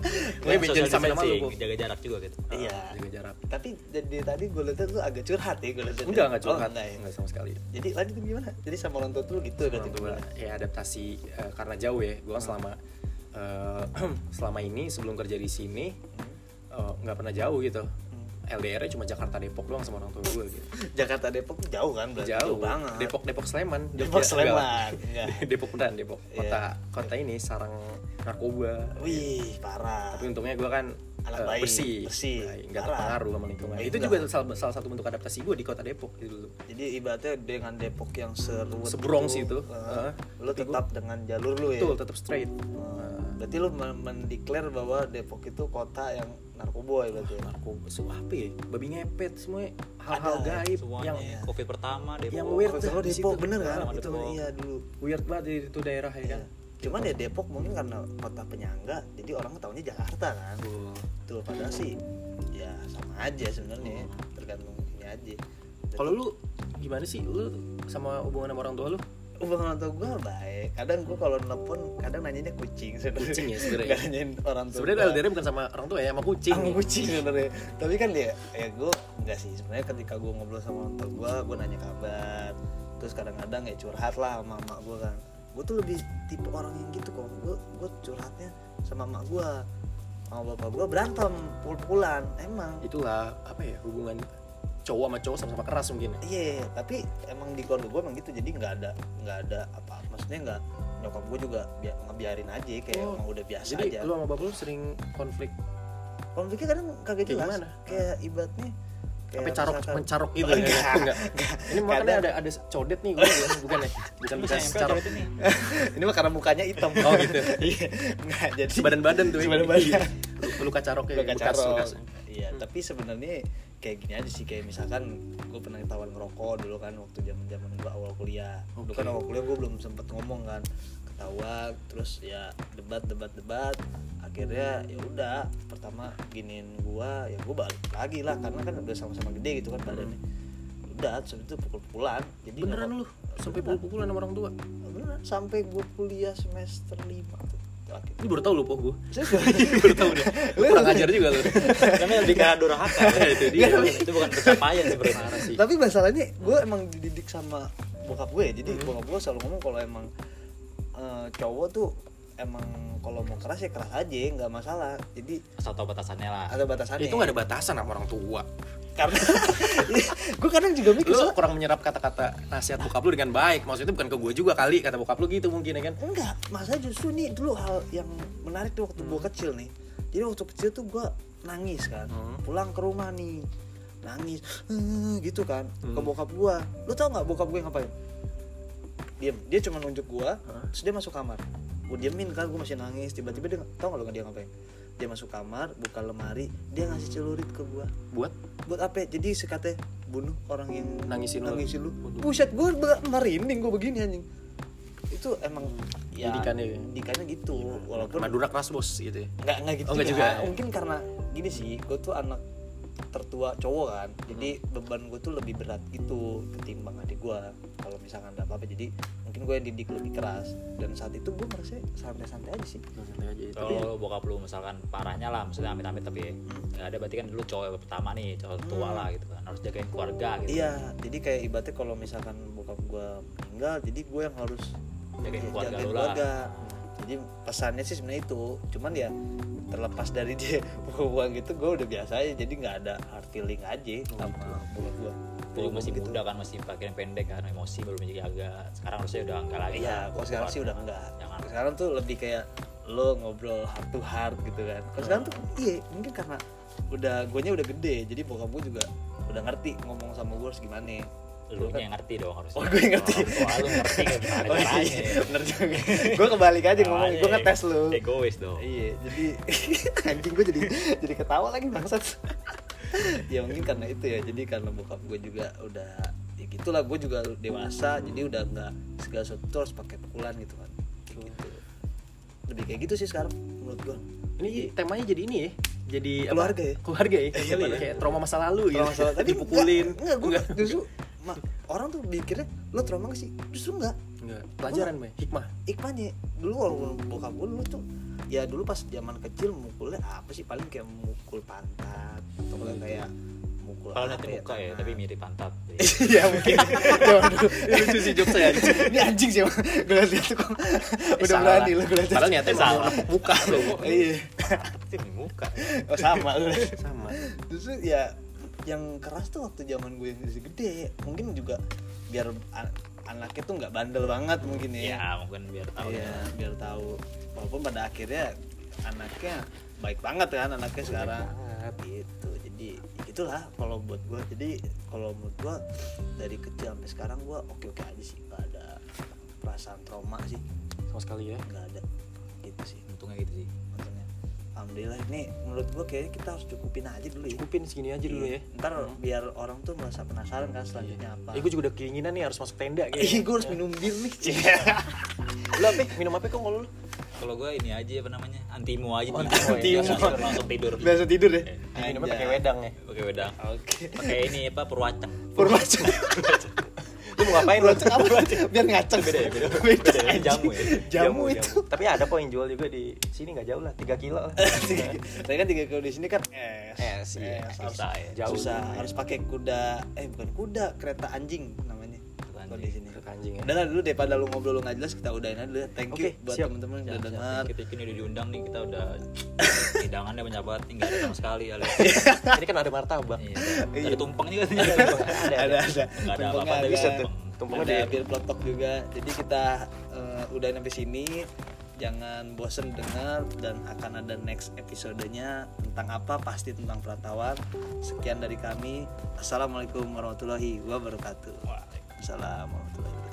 Speaker 3: Social
Speaker 2: gue jadi sama sama lu
Speaker 3: distancing,
Speaker 2: Bu.
Speaker 3: jaga jarak juga gitu
Speaker 1: Iya.
Speaker 2: Ah, jaga jarak
Speaker 1: Tapi dari tadi gue lihat lu agak curhat ya gue lihat.
Speaker 2: enggak enggak curhat
Speaker 1: enggak ya.
Speaker 2: enggak sama sekali
Speaker 1: Jadi lanjut gimana? Jadi sama orang tua tuh gitu berarti
Speaker 2: orang tua ya adaptasi eh, karena jauh ya gue kan
Speaker 1: Hmm.
Speaker 2: selama eh, [clears throat] selama ini sebelum kerja di sini
Speaker 1: Hmm.
Speaker 2: eh, nggak pernah jauh gitu LDR nya cuma Jakarta Depok doang sama orang tua gue gitu
Speaker 1: [laughs] Jakarta Depok tuh jauh kan berarti
Speaker 2: jauh
Speaker 1: banget.
Speaker 2: Depok Depok Sleman
Speaker 1: Depok
Speaker 2: Jogja.
Speaker 1: Sleman.
Speaker 2: Enggak.
Speaker 1: Enggak.
Speaker 2: [laughs] Depok beneran Depok kota
Speaker 1: Iya.
Speaker 2: kota ini sarang narkoba
Speaker 1: Wih parah.
Speaker 2: tapi untungnya gue kan
Speaker 1: Anak
Speaker 2: eh,
Speaker 1: baik,
Speaker 2: bersih,
Speaker 1: bersih.
Speaker 2: Baik, nggak
Speaker 1: Parah.
Speaker 2: terpengaruh sama lingkungan
Speaker 1: Baik
Speaker 2: itu
Speaker 1: lah.
Speaker 2: juga salah, salah satu bentuk adaptasi gue di kota Depok gitu dulu
Speaker 1: Jadi ibaratnya dengan Depok yang seru
Speaker 2: Sebrong sih itu. Heeh.
Speaker 1: Lu
Speaker 2: Tapi
Speaker 1: tetap dengan jalur lu ya.
Speaker 2: betul tetap straight Eh,
Speaker 1: Hmm. Berarti lu men- mendeklar bahwa Depok itu kota yang narkoboy berarti. ya?
Speaker 2: narkoba semua apa ya babi ngepet semuanya hal-hal gaib
Speaker 3: semuanya
Speaker 2: yang
Speaker 3: covid pertama deh
Speaker 2: Iya. yang
Speaker 3: pokok.
Speaker 2: weird
Speaker 1: Kalau
Speaker 2: dah
Speaker 1: Depok
Speaker 2: di situ.
Speaker 1: bener kan?
Speaker 3: Sama
Speaker 1: Itu
Speaker 3: Depok.
Speaker 1: iya dulu.
Speaker 2: weird banget di itu daerah ya kan
Speaker 1: Cuman ya Depok mungkin karena kota penyangga, jadi orang tahunya Jakarta kan.
Speaker 2: Betul.
Speaker 1: Tuh padahal sih ya sama aja sebenarnya, tergantung ini aja. [laughs]
Speaker 2: kalau lu gimana sih lu sama hubungan sama orang tua lu
Speaker 1: hubungan orang tua gue baik kadang gue kalau nelpon kadang nanyanya kucing sebenarnya
Speaker 2: Kucing ya
Speaker 1: [laughs]
Speaker 2: sebenarnya.
Speaker 1: Nggak nanyain orang tua
Speaker 2: Sebenarnya
Speaker 1: gua.
Speaker 2: LDR bukan sama orang tua ya, sama kucing.
Speaker 1: Sama kucing sebenarnya tapi kan dia ya gue enggak sih sebenarnya ketika gue ngobrol sama orang tua gue gue nanya kabar terus kadang-kadang ya curhat lah sama emak gue kan gue tuh lebih tipe orang yang gitu kalau gue gue curhatnya sama emak gue sama bapak gue berantem pukul-pukulan emang
Speaker 2: Itulah apa ya hubungan cowok sama cowok sama-sama keras mungkin. ya.
Speaker 1: Iya, tapi emang di keluarga gue emang gitu, jadi nggak ada nggak ada apa, maksudnya nggak nyokap gue juga bi- ngebiarin aja, kayak
Speaker 2: Oh,
Speaker 1: emang udah biasa
Speaker 2: Jadi
Speaker 1: aja.
Speaker 2: lu sama bapak lu sering konflik,
Speaker 1: Konfliknya kadang kagak
Speaker 2: Kayak
Speaker 1: jelas,
Speaker 2: gimana?
Speaker 1: kayak ibaratnya kayak
Speaker 2: tapi carok
Speaker 1: misalkan-
Speaker 2: mencarok gitu
Speaker 1: Oh,
Speaker 2: ya.
Speaker 1: enggak.
Speaker 2: Enggak. Ini makanya
Speaker 1: Kadang-
Speaker 2: ada ada codet nih gue bilang. bukan
Speaker 1: [laughs]
Speaker 2: ya. Bukan
Speaker 3: Ini
Speaker 2: bukan
Speaker 3: bisa nempel
Speaker 2: carok.
Speaker 3: cewek itu gitu nih.
Speaker 1: Ini mah karena mukanya hitam.
Speaker 2: Oh, gitu.
Speaker 1: [laughs] Iya, nggak jadi.
Speaker 2: Sebadan-badan tuh. ya.
Speaker 1: Sebadan-badan.
Speaker 2: Iya. Luka carok ya.
Speaker 1: Luka
Speaker 2: bekas-
Speaker 1: carok.
Speaker 2: bekas.
Speaker 1: Iya, tapi sebenarnya kayak gini aja sih kayak misalkan gue pernah ketahuan ngerokok dulu kan waktu zaman zaman gue awal kuliah. Dulu kan
Speaker 2: Oke.
Speaker 1: awal kuliah gue belum sempet ngomong kan, ketahuan terus ya debat debat debat. Akhirnya ya udah pertama giniin gue ya gue balik lagi lah karena kan udah sama-sama gede gitu kan badannya. Udah terus itu pukul-pukulan. Jadi
Speaker 2: Hmm. Beneran
Speaker 1: ngerokok-
Speaker 2: lu sampai pukul-pukulan sama orang tua.
Speaker 1: Beneran sampai gue kuliah semester 5 tuh. Terakhir.
Speaker 2: Ini baru tahu lu po gue. [laughs]
Speaker 1: Terus-
Speaker 2: Iya, Baru tahu deh. Kurang ajar juga lu.
Speaker 3: Karena lebih ke arah durhaka ya itu dia.
Speaker 1: Nggak, tapi-
Speaker 3: Itu bukan pencapaian sebenarnya.
Speaker 2: Parah sih.
Speaker 1: tapi masalahnya gue emang dididik sama bokap gue ya. jadi
Speaker 2: Hmm.
Speaker 1: bokap gue selalu ngomong kalau emang eh, cowok tuh emang kalau mau keras ya keras aja nggak masalah jadi
Speaker 3: Asal tau batasannya lah.
Speaker 1: ada batasannya [laughs]
Speaker 2: Itu nggak ada batasan sama orang tua.
Speaker 1: karena gue kadang juga mikir
Speaker 2: Lu
Speaker 1: soalnya
Speaker 2: kurang menyerap kata-kata nasihat bokap lu dengan baik. Maksudnya bukan ke gue juga kali kata bokap lu gitu mungkin ya kan.
Speaker 1: enggak masalah justru nih dulu hal yang menarik tuh waktu gue kecil nih jadi waktu kecil tuh gue nangis kan
Speaker 2: Hmm.
Speaker 1: pulang ke rumah nih nangis "Eh," gitu kan ke
Speaker 2: Hmm.
Speaker 1: bokap gue lu tau nggak bokap gue ngapain diem dia cuma nunjuk gue
Speaker 2: Hah?
Speaker 1: terus dia masuk kamar gue diemin kan gue masih nangis tiba-tiba dia tau nggak lu dia ngapain dia masuk kamar buka lemari dia ngasih celurit ke gue
Speaker 2: Buat
Speaker 1: buat apa ya? jadi sekatnya bunuh orang yang
Speaker 2: Nangisin lu.
Speaker 1: nangisin lu
Speaker 2: Waduh.
Speaker 1: buset gue merinding gue begini anjing itu emang ya
Speaker 2: Didikannya ya?
Speaker 1: didikannya gitu walaupun
Speaker 2: Madura keras bos gitu ya.
Speaker 1: nggak nggak gitu
Speaker 2: Oh, nggak juga.
Speaker 1: mungkin karena gini sih gue tuh anak tertua cowok kan jadi
Speaker 2: Hmm.
Speaker 1: beban gue tuh lebih berat gitu ketimbang adik gue kalau misalkan ada apa-apa jadi mungkin gue yang didik lebih keras dan saat itu gue merasa santai-santai aja sih
Speaker 2: Santai aja itu.
Speaker 3: Kalau bokap lu misalkan parahnya lah, maksudnya amit-amit tapi ya.
Speaker 2: Hmm.
Speaker 3: Nggak ada berarti kan lu cowok pertama nih, cowok tua lah gitu kan. Harus jagain keluarga gitu.
Speaker 1: iya jadi kayak ibaratnya kalau misalkan bokap gue meninggal jadi gue yang harus
Speaker 3: Jagain
Speaker 1: ya,
Speaker 3: keluarga
Speaker 1: jagain
Speaker 3: lu lah.
Speaker 1: keluarga. jadi pesannya sih sebenarnya itu cuman ya terlepas dari [laughs] dia hubungan gitu gue udah biasa aja jadi nggak ada hard feeling aja sama bokap gue
Speaker 3: Dulu masih
Speaker 1: gitu. Iya,
Speaker 3: muda kan masih pakaian pendek kan emosi belum jaga. Sekarang harusnya udah enggak lagi.
Speaker 1: Iya, kalau sekarang sih udah enggak.
Speaker 3: Jangan.
Speaker 1: Sekarang tuh lebih kayak lo ngobrol heart to heart gitu kan. Kalau sekarang tuh iya, mungkin karena udah guanya udah gede, jadi bokap gue juga udah ngerti ngomong sama gue harus gimana.
Speaker 3: Lu yang ngerti dong harusnya.
Speaker 1: Oh, gue yang ngerti.
Speaker 3: Wah, lu ngerti
Speaker 1: [laughs]
Speaker 3: kan gimana
Speaker 1: Oh,
Speaker 3: caranya.
Speaker 1: iya, bener juga. [laughs] Ah, iya, gue kebalik aja ngomong, gue ngetes lu.
Speaker 3: Egois dong.
Speaker 1: Iya, jadi [laughs] anjing gue jadi jadi ketawa lagi bangsat. [laughs] ya mungkin karena itu ya, jadi karena bokap gue juga udah ya gitulah gue juga dewasa, jadi udah nggak segala sesuatu tuh harus pakai pukulan gitu kan. Kayak gitu. Lebih kayak gitu sih sekarang menurut gue.
Speaker 2: Ini temanya jadi ini ya. Jadi apa?
Speaker 1: Iya. Keluarga ya?
Speaker 2: Keluarga ya.
Speaker 1: Iya,
Speaker 2: Apa,
Speaker 1: iya.
Speaker 2: Kayak trauma masa lalu gitu.
Speaker 1: Trauma soal tadi
Speaker 2: dipukulin.
Speaker 1: Enggak, gue justru ma- orang tuh mikirnya lo trauma gak sih? Justru enggak.
Speaker 2: Enggak. Pelajaran, Bay. Hikmah.
Speaker 1: Hikmahnya dulu walaupun bokap gue dulu tuh ya dulu pas zaman kecil mukulnya apa sih paling kayak mukul pantat atau enggak kayak mukul
Speaker 3: Kalau
Speaker 1: apa
Speaker 3: nanti muka ya,
Speaker 1: tangan.
Speaker 3: tapi mirip pantat.
Speaker 1: [laughs] Iya mungkin. Zaman dulu.
Speaker 2: Ini lucu sih jokes [laughs] saya.
Speaker 1: Ini anjing sih, Bang. gue liat liat tuh kok. Udah
Speaker 2: Eh, salah.
Speaker 1: berani lu gue liat.
Speaker 2: Padahal niatnya
Speaker 3: Salah.
Speaker 2: salah. Muka lu.
Speaker 1: Iya.
Speaker 3: Itu di muka.
Speaker 1: Oh sama lu.
Speaker 2: Sama.
Speaker 1: Justru ya yang keras tuh waktu zaman gue yang masih gede, mungkin juga biar an- anaknya tuh nggak bandel banget mungkin ya.
Speaker 3: Ya, mungkin biar tahu
Speaker 1: Iya,
Speaker 3: ya.
Speaker 1: biar tahu. Walaupun pada akhirnya anaknya baik banget kan anaknya sekarang. Gitu. Jadi itulah kalau buat gue. Jadi kalau menurut gue dari kecil sampai sekarang gue oke-oke aja sih. Gak ada perasaan trauma sih.
Speaker 2: Sama sekali ya.
Speaker 1: Nggak ada. Gitu sih.
Speaker 3: Untungnya gitu sih.
Speaker 1: Maksudnya. Alhamdulillah ini menurut gue kayaknya kita harus cukupin aja dulu ya.
Speaker 2: Cukupin segini aja dulu ya.
Speaker 1: Ntar biar orang tuh merasa penasaran kan selanjutnya apa.
Speaker 2: Iya. Eh, Iya. gue juga udah keinginan nih harus masuk tenda
Speaker 1: Ih,
Speaker 2: kayaknya.
Speaker 1: gue harus minum bir nih.
Speaker 2: Iya.
Speaker 1: [laughs]
Speaker 2: Lu apa? Minum apa kok kalau lu?
Speaker 3: Kalau gue ini aja apa namanya? Antimo aja
Speaker 2: Oh, antimo
Speaker 3: nih.
Speaker 2: ya.
Speaker 3: Biasa tidur, langsung tidur.
Speaker 1: Biasa tidur ya.
Speaker 2: Iya. Minumnya pakai wedang ya.
Speaker 3: Pakai wedang.
Speaker 1: Oke. [laughs]
Speaker 3: Pakai ini apa perwacang.
Speaker 1: Purwacana.
Speaker 3: lu mau ngapain
Speaker 2: [laughs]
Speaker 3: lu?
Speaker 2: Apa? biar ngaceng
Speaker 3: beda
Speaker 1: [laughs]
Speaker 3: ya, beda.
Speaker 2: beda
Speaker 3: Beda ya, jamu ya.
Speaker 2: jamu itu
Speaker 4: Tapi ada kok yang jual juga di sini nggak jauh lah, 3
Speaker 2: [laughs]
Speaker 4: kilo. lah.
Speaker 1: Tapi kan [laughs] tiga kilo di sini kan es.
Speaker 2: Es, iya.
Speaker 1: Es, harus-
Speaker 3: Susah ya.
Speaker 4: Jauh.
Speaker 1: susah harus pakai kuda eh bukan kuda kereta anjing namanya kalau di sini
Speaker 2: Ke anjing ya.
Speaker 1: udah lah dulu daripada lu ngobrol lu nggak jelas kita udahin aja dulu ya. thank you
Speaker 2: Oke,
Speaker 1: buat
Speaker 2: siap.
Speaker 1: teman-teman yang udah
Speaker 3: Jangan
Speaker 1: dengar
Speaker 3: Kita ini udah diundang nih kita
Speaker 1: [laughs]
Speaker 3: udah hidangannya banyak banget nih nggak ada sama sekali ya. Lek.
Speaker 4: Ini kan ada martabak.
Speaker 3: Iya. Ada tumpeng juga sih. Ada
Speaker 1: Iya. ada ada ada
Speaker 3: Nggak ada apa-apa
Speaker 1: Tumpengnya
Speaker 3: tapi
Speaker 1: ada.
Speaker 3: tumpeng.
Speaker 4: Tumpengnya
Speaker 1: ada
Speaker 4: ada.
Speaker 1: bir peletok juga jadi kita eh, udahin sampai sini jangan bosen dengar dan akan ada next episodenya tentang apa pasti tentang perantauan sekian dari kami assalamualaikum warahmatullahi wabarakatuh
Speaker 3: Waalaikumsalam.
Speaker 1: Assalamualaikum warahmatullahi wabarakatuh